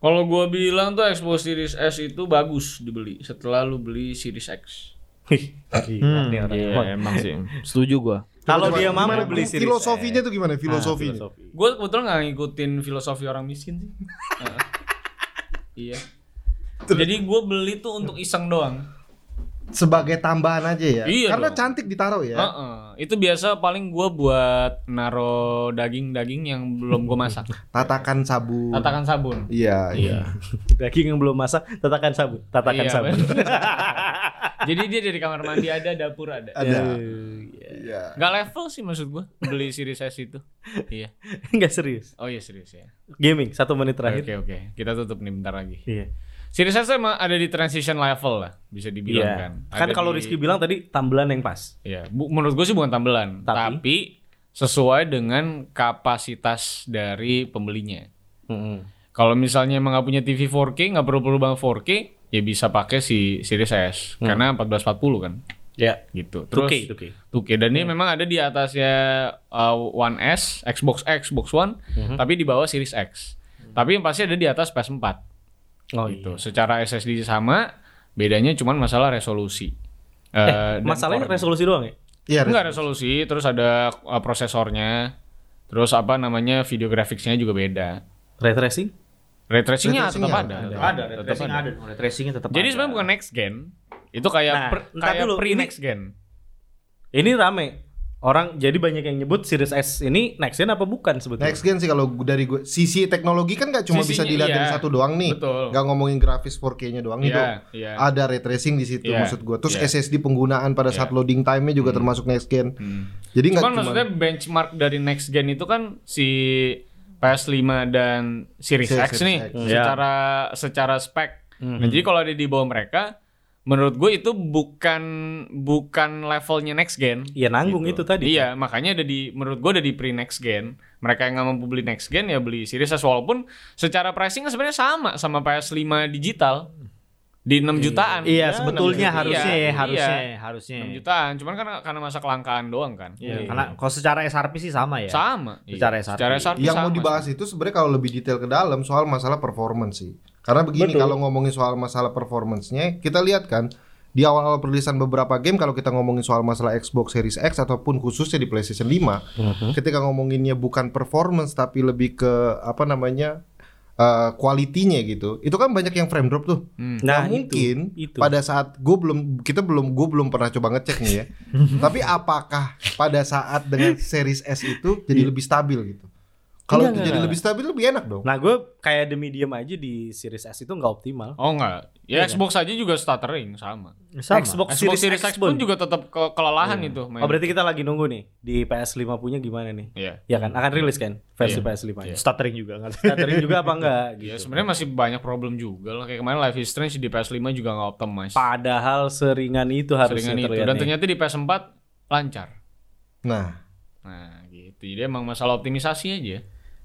Speaker 5: Kalau gua bilang tuh Xbox Series S itu bagus dibeli setelah lu beli Series X.
Speaker 3: Hmm, iya, emang sih setuju gua
Speaker 1: Kalau
Speaker 2: Coba,
Speaker 1: dia
Speaker 2: gimana
Speaker 1: mampu beli Series Ah,
Speaker 2: filosofinya
Speaker 1: S.
Speaker 2: tuh gimana filosofinya
Speaker 1: Filosofi.
Speaker 5: Gua kebetulan nggak ngikutin filosofi orang miskin sih. Heeh. iya. Jadi gua beli tuh untuk iseng doang.
Speaker 2: sebagai tambahan aja ya
Speaker 5: Iya
Speaker 2: karena
Speaker 5: dong.
Speaker 2: cantik ditaruh ya
Speaker 5: Heeh. Itu biasa paling gua buat naro daging-daging yang belum gua masak.
Speaker 2: tatakan sabun
Speaker 5: Tatakan sabun.
Speaker 2: iya iya
Speaker 1: Daging yang belum masak, tatakan sabun, tatakan
Speaker 5: Iya,
Speaker 1: sabun.
Speaker 5: bener. Jadi dia dari kamar mandi ada, dapur ada.
Speaker 2: Ada.
Speaker 5: Iya.
Speaker 2: Iya.
Speaker 5: Gak level sih maksud gua beli Series S itu. Iya.
Speaker 7: Enggak serius.
Speaker 5: Oh iya serius ya.
Speaker 7: Gaming satu menit
Speaker 5: Oke
Speaker 7: terakhir.
Speaker 5: oke. Kita tutup nih bentar lagi.
Speaker 7: Iya.
Speaker 5: Series S emang ada di transition level lah, bisa dibilang
Speaker 7: Iya.
Speaker 5: kan.
Speaker 7: Kan
Speaker 5: Ada
Speaker 7: kalau
Speaker 5: di-
Speaker 7: Rizky bilang tadi tambelan yang pas.
Speaker 5: Iya, bu- menurut gue sih bukan tambelan,
Speaker 7: Tapi?
Speaker 5: tapi, sesuai dengan kapasitas dari pembelinya. Kalau misalnya emang nggak punya TV 4K, nggak perlu-perlu banget 4K, ya bisa pakai si Series S
Speaker 7: Hmm.
Speaker 5: karena 1440 kan,
Speaker 1: Iya.
Speaker 7: Ya.
Speaker 5: gitu. Terus
Speaker 7: 2K, 2K.
Speaker 5: 2K. dan
Speaker 7: Iya.
Speaker 5: ini memang ada di atasnya uh, One S, Xbox X, Xbox One,
Speaker 7: Mhm.
Speaker 5: tapi di bawah Series X. Tapi yang pasti ada di atas PS4
Speaker 7: Oh
Speaker 5: gitu. Secara SSD sama, bedanya cuman masalah resolusi. Eh, dan
Speaker 7: Masalahnya
Speaker 5: core-nya.
Speaker 7: resolusi doang ya?
Speaker 2: Iya,
Speaker 5: Enggak resolusi, terus ada uh, prosesornya, terus apa namanya video grafiknya juga beda.
Speaker 7: Ray tracing?
Speaker 5: Ray tracingnya
Speaker 2: Ray tracing
Speaker 5: tetap
Speaker 2: ya?
Speaker 5: ada, tetap
Speaker 3: Ada,
Speaker 5: tetap
Speaker 3: retracing
Speaker 5: ada.
Speaker 3: ada. Retracingnya tetap
Speaker 5: Jadi
Speaker 3: ada.
Speaker 5: sebenarnya bukan next gen, itu kayak
Speaker 7: Nah,
Speaker 5: per-
Speaker 7: ntar
Speaker 5: kayak
Speaker 7: dulu,
Speaker 5: pre
Speaker 7: ini-
Speaker 5: next gen.
Speaker 7: Ini rame. Orang jadi banyak yang nyebut Series S ini next gen apa bukan sebetulnya?
Speaker 2: Next gen sih kalau gu- dari gue sisi teknologi kan nggak cuma bisa
Speaker 5: Sisinya,
Speaker 2: dilihat dari
Speaker 5: iya.
Speaker 2: satu doang nih.
Speaker 5: Betul.
Speaker 2: Nggak ngomongin grafis 4K-nya doang nih,
Speaker 5: Iya,
Speaker 2: Dok.
Speaker 5: iya.
Speaker 2: Ada ray tracing di situ
Speaker 5: Iya,
Speaker 2: maksud gue. Terus
Speaker 5: iya. Hmm.
Speaker 2: SSD penggunaan pada saat loading time-nya juga termasuk next gen. Jadi nggak
Speaker 5: Cuman
Speaker 2: cuma
Speaker 5: maksudnya benchmark dari next gen itu kan si PS5 dan Series
Speaker 2: Series
Speaker 5: X nih
Speaker 2: X.
Speaker 5: Hmm.
Speaker 7: Iya.
Speaker 5: secara secara spek.
Speaker 7: Mhm.
Speaker 5: Nah, jadi kalau ada di bawah mereka, menurut gue itu bukan bukan levelnya next gen.
Speaker 7: Iya, nanggung itu tadi.
Speaker 5: Iya, makanya ada di menurut gue ada di pre next gen. Mereka yang nggak mampu beli next gen ya beli Series S walaupun secara pricing sebenarnya sama sama PS5 digital di 6 jutaan.
Speaker 3: Iya,
Speaker 2: Ya,
Speaker 3: sebetulnya
Speaker 5: namanya-
Speaker 3: harusnya
Speaker 5: Iya,
Speaker 3: ya, harusnya,
Speaker 5: iya.
Speaker 3: harusnya.
Speaker 5: 6 jutaan, cuman kan karena masa kelangkaan doang kan.
Speaker 3: Iya, Karena kalau secara SRP sih sama ya.
Speaker 5: Sama.
Speaker 3: Secara
Speaker 5: Iya,
Speaker 3: SRP.
Speaker 2: yang mau
Speaker 5: sama.
Speaker 2: dibahas itu sebenarnya kalau lebih detail ke dalam soal masalah performance sih. Karena begini kalau ngomongin soal masalah performance-nya, kita lihat kan di awal-awal perilisan beberapa game kalau kita ngomongin soal masalah Xbox Series X ataupun khususnya di PlayStation 5, ketika ngomonginnya bukan performance tapi lebih ke apa namanya? eh, quality-nya gitu. Itu kan banyak yang frame drop tuh. Nah,
Speaker 7: itu,
Speaker 2: mungkin
Speaker 7: itu.
Speaker 2: pada saat gue belum kita belum gue belum pernah coba ngecek nih
Speaker 7: [LAUGHS]
Speaker 2: ya. Tapi apakah pada saat dengan series S itu jadi lebih stabil gitu? Kalau
Speaker 7: Enggak, Iya. enggak,
Speaker 2: itu jadi
Speaker 7: enggak.
Speaker 2: lebih stabil lebih enak dong.
Speaker 7: Nah, gue kayak the medium aja di Series S itu nggak optimal.
Speaker 5: Oh enggak.
Speaker 3: Iya.
Speaker 5: Ya Xbox aja juga stuttering sama.
Speaker 3: Sama.
Speaker 7: Xbox,
Speaker 5: Xbox Series X pun
Speaker 7: pun.
Speaker 5: juga tetap ke- kelelahan
Speaker 3: Iya.
Speaker 5: itu
Speaker 7: Oh,
Speaker 5: main.
Speaker 7: berarti kita lagi nunggu nih di PS5 punya gimana nih?
Speaker 5: Iya.
Speaker 7: Ya kan akan rilis kan versi
Speaker 5: Iya.
Speaker 7: PS5 nya.
Speaker 3: stuttering juga nggak sih?
Speaker 7: Stuttering juga
Speaker 5: [LAUGHS]
Speaker 7: apa enggak
Speaker 5: Ya
Speaker 7: gitu.
Speaker 5: sebenarnya masih banyak problem juga lah. Kayak kemarin Life is Strange di PS5 juga nggak optimize.
Speaker 7: Padahal seringan itu harusnya
Speaker 5: Seringan itu.
Speaker 7: terlihat. ya.
Speaker 5: Dan ternyata di PS4 lancar.
Speaker 2: Nah,
Speaker 5: Nah gitu. Jadi emang masalah optimisasi aja.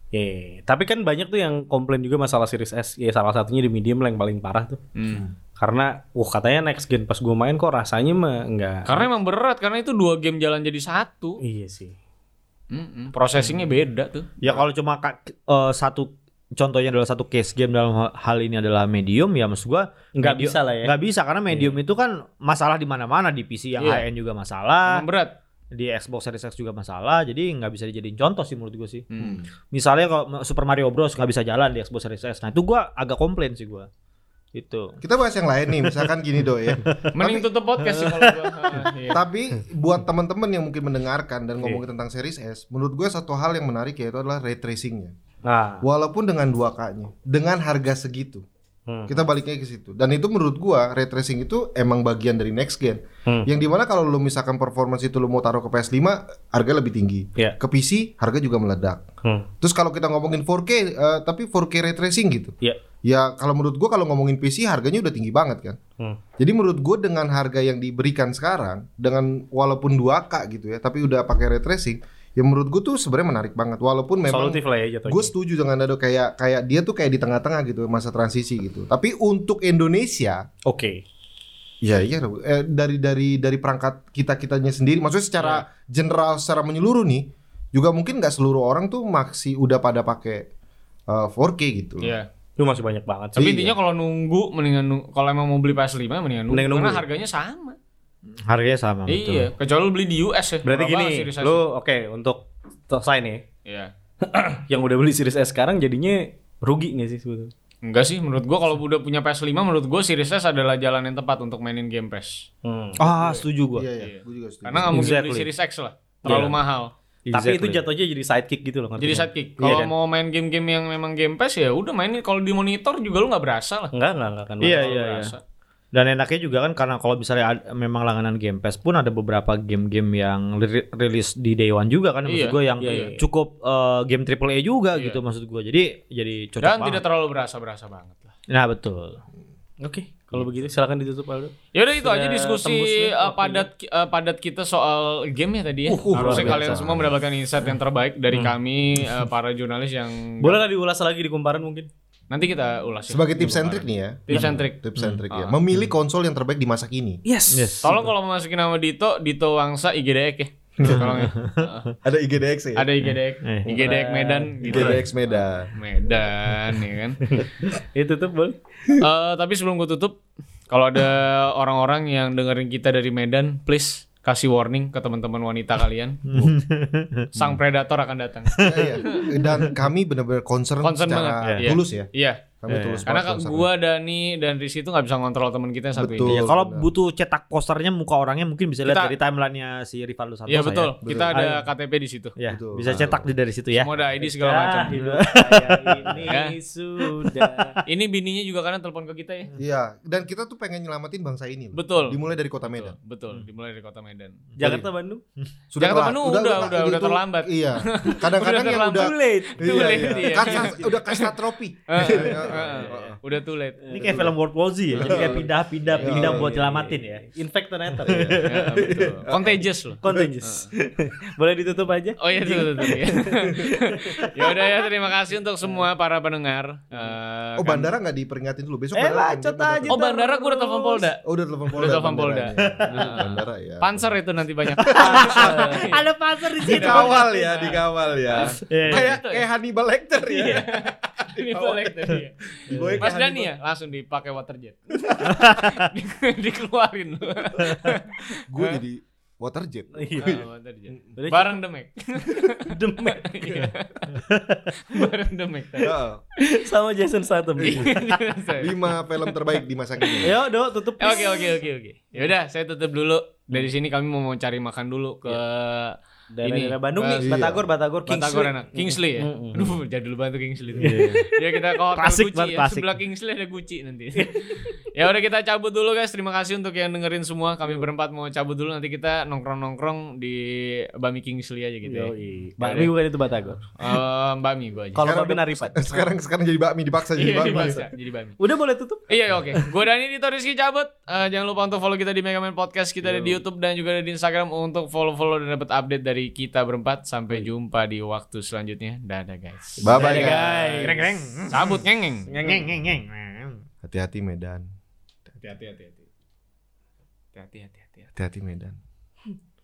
Speaker 7: Iya, tapi kan banyak tuh yang komplain juga masalah Series S. Ya salah satunya di medium lah yang paling parah tuh.
Speaker 5: Hmm.
Speaker 7: Karena wah katanya next gen pas gua main kok rasanya mah enggak.
Speaker 5: Karena emang berat karena itu dua game jalan jadi satu.
Speaker 7: Iya sih.
Speaker 5: Mm-mm. Processingnya beda tuh.
Speaker 3: Ya kalau cuma ka- eh, satu contohnya adalah satu case game dalam hal- hal ini adalah medium ya maksud gua
Speaker 7: Nggak
Speaker 3: medio-
Speaker 7: bisa lah ya.
Speaker 3: nggak bisa karena medium itu kan masalah di mana-mana di PC yang
Speaker 5: Iya.
Speaker 3: high end juga masalah
Speaker 5: Emang berat.
Speaker 3: di Xbox Series X juga masalah jadi nggak bisa dijadiin contoh sih menurut gua sih
Speaker 5: Hmm.
Speaker 3: misalnya kalau Super Mario Bros nggak bisa jalan di Xbox Series X nah itu gua agak komplain sih gua itu
Speaker 2: kita bahas yang lain nih, misalkan gini do
Speaker 7: [LAUGHS]
Speaker 2: ya.
Speaker 5: Mending tutup podcast sih kalau gua. Ah, iya.
Speaker 2: Tapi buat teman-teman yang mungkin mendengarkan
Speaker 7: Iya.
Speaker 2: dan ngomongin tentang series S, menurut gue satu hal yang menarik yaitu adalah ray tracing-nya.
Speaker 7: Nah,
Speaker 2: Walaupun dengan 2K-nya, dengan harga segitu.
Speaker 7: Hmm.
Speaker 2: Kita baliknya ke situ. Dan itu menurut gua ray tracing itu emang bagian dari next gen.
Speaker 7: Hmm.
Speaker 2: Yang dimana kalau lu misalkan performance itu lu mau taruh ke PS5, harga lebih tinggi.
Speaker 7: Iya.
Speaker 2: Ke PC harga juga meledak.
Speaker 7: Hmm.
Speaker 2: Terus kalau kita ngomongin 4K eh, tapi 4K ray tracing gitu.
Speaker 7: Iya.
Speaker 2: Ya kalau menurut gua kalau ngomongin PC harganya udah tinggi banget kan.
Speaker 7: Hmm.
Speaker 2: Jadi menurut gue dengan harga yang diberikan sekarang dengan walaupun 2K gitu ya, tapi udah pakai ray tracing, ya menurut gue tuh sebenarnya menarik banget walaupun memang
Speaker 7: solutif lah ya jatuhnya.
Speaker 2: gue setuju dengan Dado kayak kayak dia tuh kayak di tengah-tengah gitu masa transisi gitu. Tapi untuk Indonesia
Speaker 7: Oke.
Speaker 2: Ya iya dong. Eh, dari dari dari perangkat kita kitanya sendiri, maksudnya secara
Speaker 5: Iya.
Speaker 2: general, secara menyeluruh nih, juga mungkin nggak seluruh orang tuh maksi udah pada pakai eh, 4K gitu.
Speaker 5: Iya.
Speaker 7: Itu masih banyak banget.
Speaker 2: Iya.
Speaker 5: Tapi intinya kalau nunggu mendingan nung- kalau emang mau beli PS5 mendingan nunggu,
Speaker 7: Mendingan nunggu
Speaker 5: karena
Speaker 7: ya?
Speaker 5: harganya sama.
Speaker 3: harganya sama
Speaker 5: Iya,
Speaker 3: betul.
Speaker 5: kecuali lu beli di US ya.
Speaker 7: Berarti
Speaker 5: Murah
Speaker 7: gini,
Speaker 5: banget Series S.
Speaker 7: lu oke untuk selesai nih.
Speaker 5: Iya.
Speaker 7: Yang udah beli Series S sekarang jadinya rugi nggak sih sebetulnya?
Speaker 5: Enggak sih, menurut gua kalau udah punya PS5 menurut gua Series S adalah jalan yang tepat untuk mainin game PS.
Speaker 3: ah setuju gua
Speaker 2: Iya, iya.
Speaker 5: Iya.
Speaker 2: Gue juga setuju.
Speaker 5: Karena nggak mungkin beli
Speaker 3: Exactly.
Speaker 5: Series X lah. Terlalu
Speaker 7: Iya.
Speaker 5: mahal.
Speaker 7: Tapi itu
Speaker 3: Exactly.
Speaker 7: jatuhnya jadi sidekick gitu loh. ngerti
Speaker 5: Jadi
Speaker 7: nggak?
Speaker 5: sidekick.
Speaker 7: Iya
Speaker 5: Kalau
Speaker 7: kan?
Speaker 5: mau main game-game yang memang game pass ya udah mainin kalau di monitor juga lu nggak berasa lah.
Speaker 7: Enggak, enggak, enggak akan bakal
Speaker 3: Iya, iya,
Speaker 5: Nggak
Speaker 3: iya.
Speaker 5: berasa.
Speaker 3: Dan enaknya juga kan karena kalau misalnya ad- memang langganan Game Pass pun ada beberapa game-game yang lir- rilis di day one juga kan maksud
Speaker 5: Iya,
Speaker 3: gue yang
Speaker 5: iya, iya.
Speaker 3: cukup eh, game AAA juga
Speaker 5: Iya.
Speaker 3: gitu maksud gue. Jadi jadi cocok
Speaker 5: Dan
Speaker 3: banget.
Speaker 5: tidak terlalu berasa-berasa banget lah.
Speaker 3: Nah, betul.
Speaker 7: Oke, kalau begitu silakan ditutup Aldo.
Speaker 5: Yaudah Ya itu
Speaker 7: Sudah
Speaker 5: aja diskusi
Speaker 7: tembus nih
Speaker 5: eh,
Speaker 7: waktunya.
Speaker 5: padat ki- eh, padat kita soal game ya tadi ya.
Speaker 7: Uh, uh,
Speaker 5: Harusnya
Speaker 7: luar Hmm.
Speaker 5: kalian
Speaker 2: biasa.
Speaker 5: semua mendapatkan insight yang terbaik dari kami eh, para jurnalis yang
Speaker 7: Boleh nggak diulas lagi di kumparan mungkin?
Speaker 5: nanti kita ulas ya.
Speaker 2: Sebagai tips and trick nih ya.
Speaker 5: Tips and trick.
Speaker 2: Tips and trick ya.
Speaker 5: Ah.
Speaker 2: Memilih konsol yang terbaik di masa kini.
Speaker 7: Yes.
Speaker 3: Yes.
Speaker 5: Tolong kalau mau masukin nama Dito, Dito Wangsa IGDX ya.
Speaker 7: [LAUGHS]
Speaker 5: Tolong ya. Heeh.
Speaker 2: Ada IGDX ya.
Speaker 5: Ada IGDX,
Speaker 3: Eh.
Speaker 5: IGDX Medan gitu.
Speaker 2: IGDX
Speaker 5: [LAUGHS]
Speaker 2: Medan.
Speaker 5: Medan ya kan.
Speaker 7: [LAUGHS] Ditutup boleh.
Speaker 5: Eh, tapi sebelum gue tutup, kalau ada orang-orang yang dengerin kita dari Medan, please kasih warning ke teman-teman wanita kalian.
Speaker 2: Hmm.
Speaker 5: Sang predator akan datang.
Speaker 2: Iya, iya. Dan kami benar-benar concern,
Speaker 5: Concern
Speaker 2: secara
Speaker 5: banget, iya.
Speaker 2: tulus ya.
Speaker 5: Iya,
Speaker 2: Kami tulus
Speaker 5: karena
Speaker 2: banget concernnya.
Speaker 5: gue, Dani, dan Rizky itu nggak bisa ngontrol teman kita yang satu
Speaker 2: Betul.
Speaker 5: ini.
Speaker 3: Ya, kalau
Speaker 2: benar.
Speaker 3: butuh cetak posternya muka orangnya mungkin bisa lihat
Speaker 5: Kita-
Speaker 3: dari timelinenya si Rivaldo Santosa.
Speaker 5: Iya betul.
Speaker 3: Ya.
Speaker 5: Kita ada KTP di situ.
Speaker 3: Ya,
Speaker 2: Betul.
Speaker 3: bisa cetak di dari
Speaker 2: Iya.
Speaker 3: situ ya.
Speaker 5: Semua ada ID segala macam.
Speaker 2: [LAUGHS]
Speaker 7: saya
Speaker 5: Ya.
Speaker 7: ini sudah.
Speaker 5: Ini bininya juga karena telepon ke kita ya.
Speaker 2: Iya, dan kita tuh pengen nyelamatin bangsa ini. loh.
Speaker 5: Betul.
Speaker 2: Dimulai dari kota Medan. Hmm.
Speaker 5: Betul, dimulai dari kota Medan.
Speaker 7: Jakarta Bandung.
Speaker 5: Jakarta
Speaker 2: telat.
Speaker 5: Bandung udah- udah-
Speaker 2: ini
Speaker 5: udah
Speaker 2: tuh-
Speaker 5: terlambat.
Speaker 2: Iya. Kadang-kadang
Speaker 5: [LAUGHS] Udah
Speaker 2: yang udah
Speaker 5: terlambat.
Speaker 7: late.
Speaker 5: Too
Speaker 2: [LAUGHS] Iya,
Speaker 5: late,
Speaker 2: iya.
Speaker 5: iya.
Speaker 2: Kasta- udah
Speaker 5: [LAUGHS]
Speaker 2: kastatropi.
Speaker 5: Eh, eh,
Speaker 2: Iya,
Speaker 5: eh, eh. Udah too late.
Speaker 3: Ini kayak film World War Z ya. Jadi kayak pindah-pindah
Speaker 2: Iya,
Speaker 3: pindah
Speaker 2: iya,
Speaker 3: buat nyelamatin ya.
Speaker 7: Infectonator.
Speaker 2: [LAUGHS]
Speaker 5: Ya, betul. Contagious loh.
Speaker 2: Iya.
Speaker 7: Contagious. [LAUGHS] boleh ditutup aja.
Speaker 5: Oh iya betul betul. iya.
Speaker 2: [LAUGHS]
Speaker 5: ya udah ya terima kasih untuk semua para pendengar. Eh,
Speaker 2: Ya. Oh,
Speaker 5: kan-
Speaker 2: bandara nggak diperingatin dulu besok.
Speaker 7: Eh,
Speaker 2: bandara-
Speaker 7: bacot
Speaker 2: bandara-
Speaker 7: aja.
Speaker 5: Oh bandara gue udah telepon Polda.
Speaker 2: Oh, udah telepon Polda.
Speaker 5: Udah telepon Polda.
Speaker 2: bandaranya.
Speaker 5: Heeh.
Speaker 2: Bandara ya.
Speaker 5: Panser itu nanti
Speaker 2: [LAUGHS]
Speaker 5: banyak.
Speaker 3: Ada pasar di sini.
Speaker 2: Dikawal ya, dikawal ya.
Speaker 3: Iya.
Speaker 2: Kayak
Speaker 5: Gitu
Speaker 2: kayak Hannibal Lecter ya.
Speaker 5: Ini boleh tadi ya.
Speaker 2: Dibawa Oh. ke
Speaker 5: Iya. Mas
Speaker 2: Hannibal-
Speaker 5: Dani ya langsung dipakai water jet. [LAUGHS] Di-
Speaker 2: [LAUGHS]
Speaker 5: Dikeluarin Ah, lu.
Speaker 2: Gue jadi water jet.
Speaker 5: Ah, water jet.
Speaker 7: Iya. Udah,
Speaker 5: Bareng Demek.
Speaker 7: Demek.
Speaker 5: [LAUGHS] Iya. Bareng Demek.
Speaker 2: [LAUGHS] Heeh.
Speaker 7: Sama Jason Statham.
Speaker 2: Iya. Lima film terbaik di masa kini.
Speaker 7: Ayo, Do, tutup.
Speaker 5: Eh, Oke oke oke oke. Ya udah saya tutup dulu. Dari sini kami mau cari makan dulu ke
Speaker 7: Daerah-daerah Bandung nih,
Speaker 5: Ke-
Speaker 2: Iya.
Speaker 7: Batagor, Batagor, Kingsley.
Speaker 5: Batagor enak. Kingsley ya. Aduh, jadul banget tuh Kingsley. tuh. ya kita ke hotel
Speaker 3: Klasik
Speaker 5: Gucci
Speaker 3: banget,
Speaker 5: ya.
Speaker 3: klasik.
Speaker 5: Sebelah Kingsley ada Gucci nanti. [LAUGHS] ya udah kita cabut dulu guys. Terima kasih untuk yang dengerin semua. Kami berempat mau cabut dulu nanti kita nongkrong-nongkrong di Bami Kingsley aja gitu
Speaker 2: Iya.
Speaker 5: ya.
Speaker 7: Yoi. Bakmi bukan itu Batagor.
Speaker 5: Eh, Bami gua aja.
Speaker 7: Kalau
Speaker 2: Sekarang
Speaker 7: Robin
Speaker 2: udah-
Speaker 7: Arifat.
Speaker 2: Sekarang sekarang jadi bakmi dipaksa jadi
Speaker 5: Iya,
Speaker 2: bakmi.
Speaker 5: dibaksa, jadi Bami.
Speaker 7: Udah boleh tutup.
Speaker 5: Iya oke. Gue Dani Dito Rizky cabut. Eh, jangan lupa untuk follow kita di Megaman Podcast. Kita ada di YouTube dan juga ada di Instagram untuk follow-follow dan dapat update dari kita berempat. Sampai jumpa di waktu selanjutnya. Dadah guys.
Speaker 2: Bye bye guys.
Speaker 3: Greng-greng.
Speaker 5: Cabut ngengeng.
Speaker 3: Ngeng ngeng ngeng.
Speaker 2: Hati-hati Medan.
Speaker 5: Hati-hati hati-hati. Hati-hati hati-hati.
Speaker 2: Hati-hati Medan.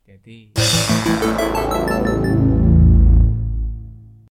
Speaker 5: hati-hati.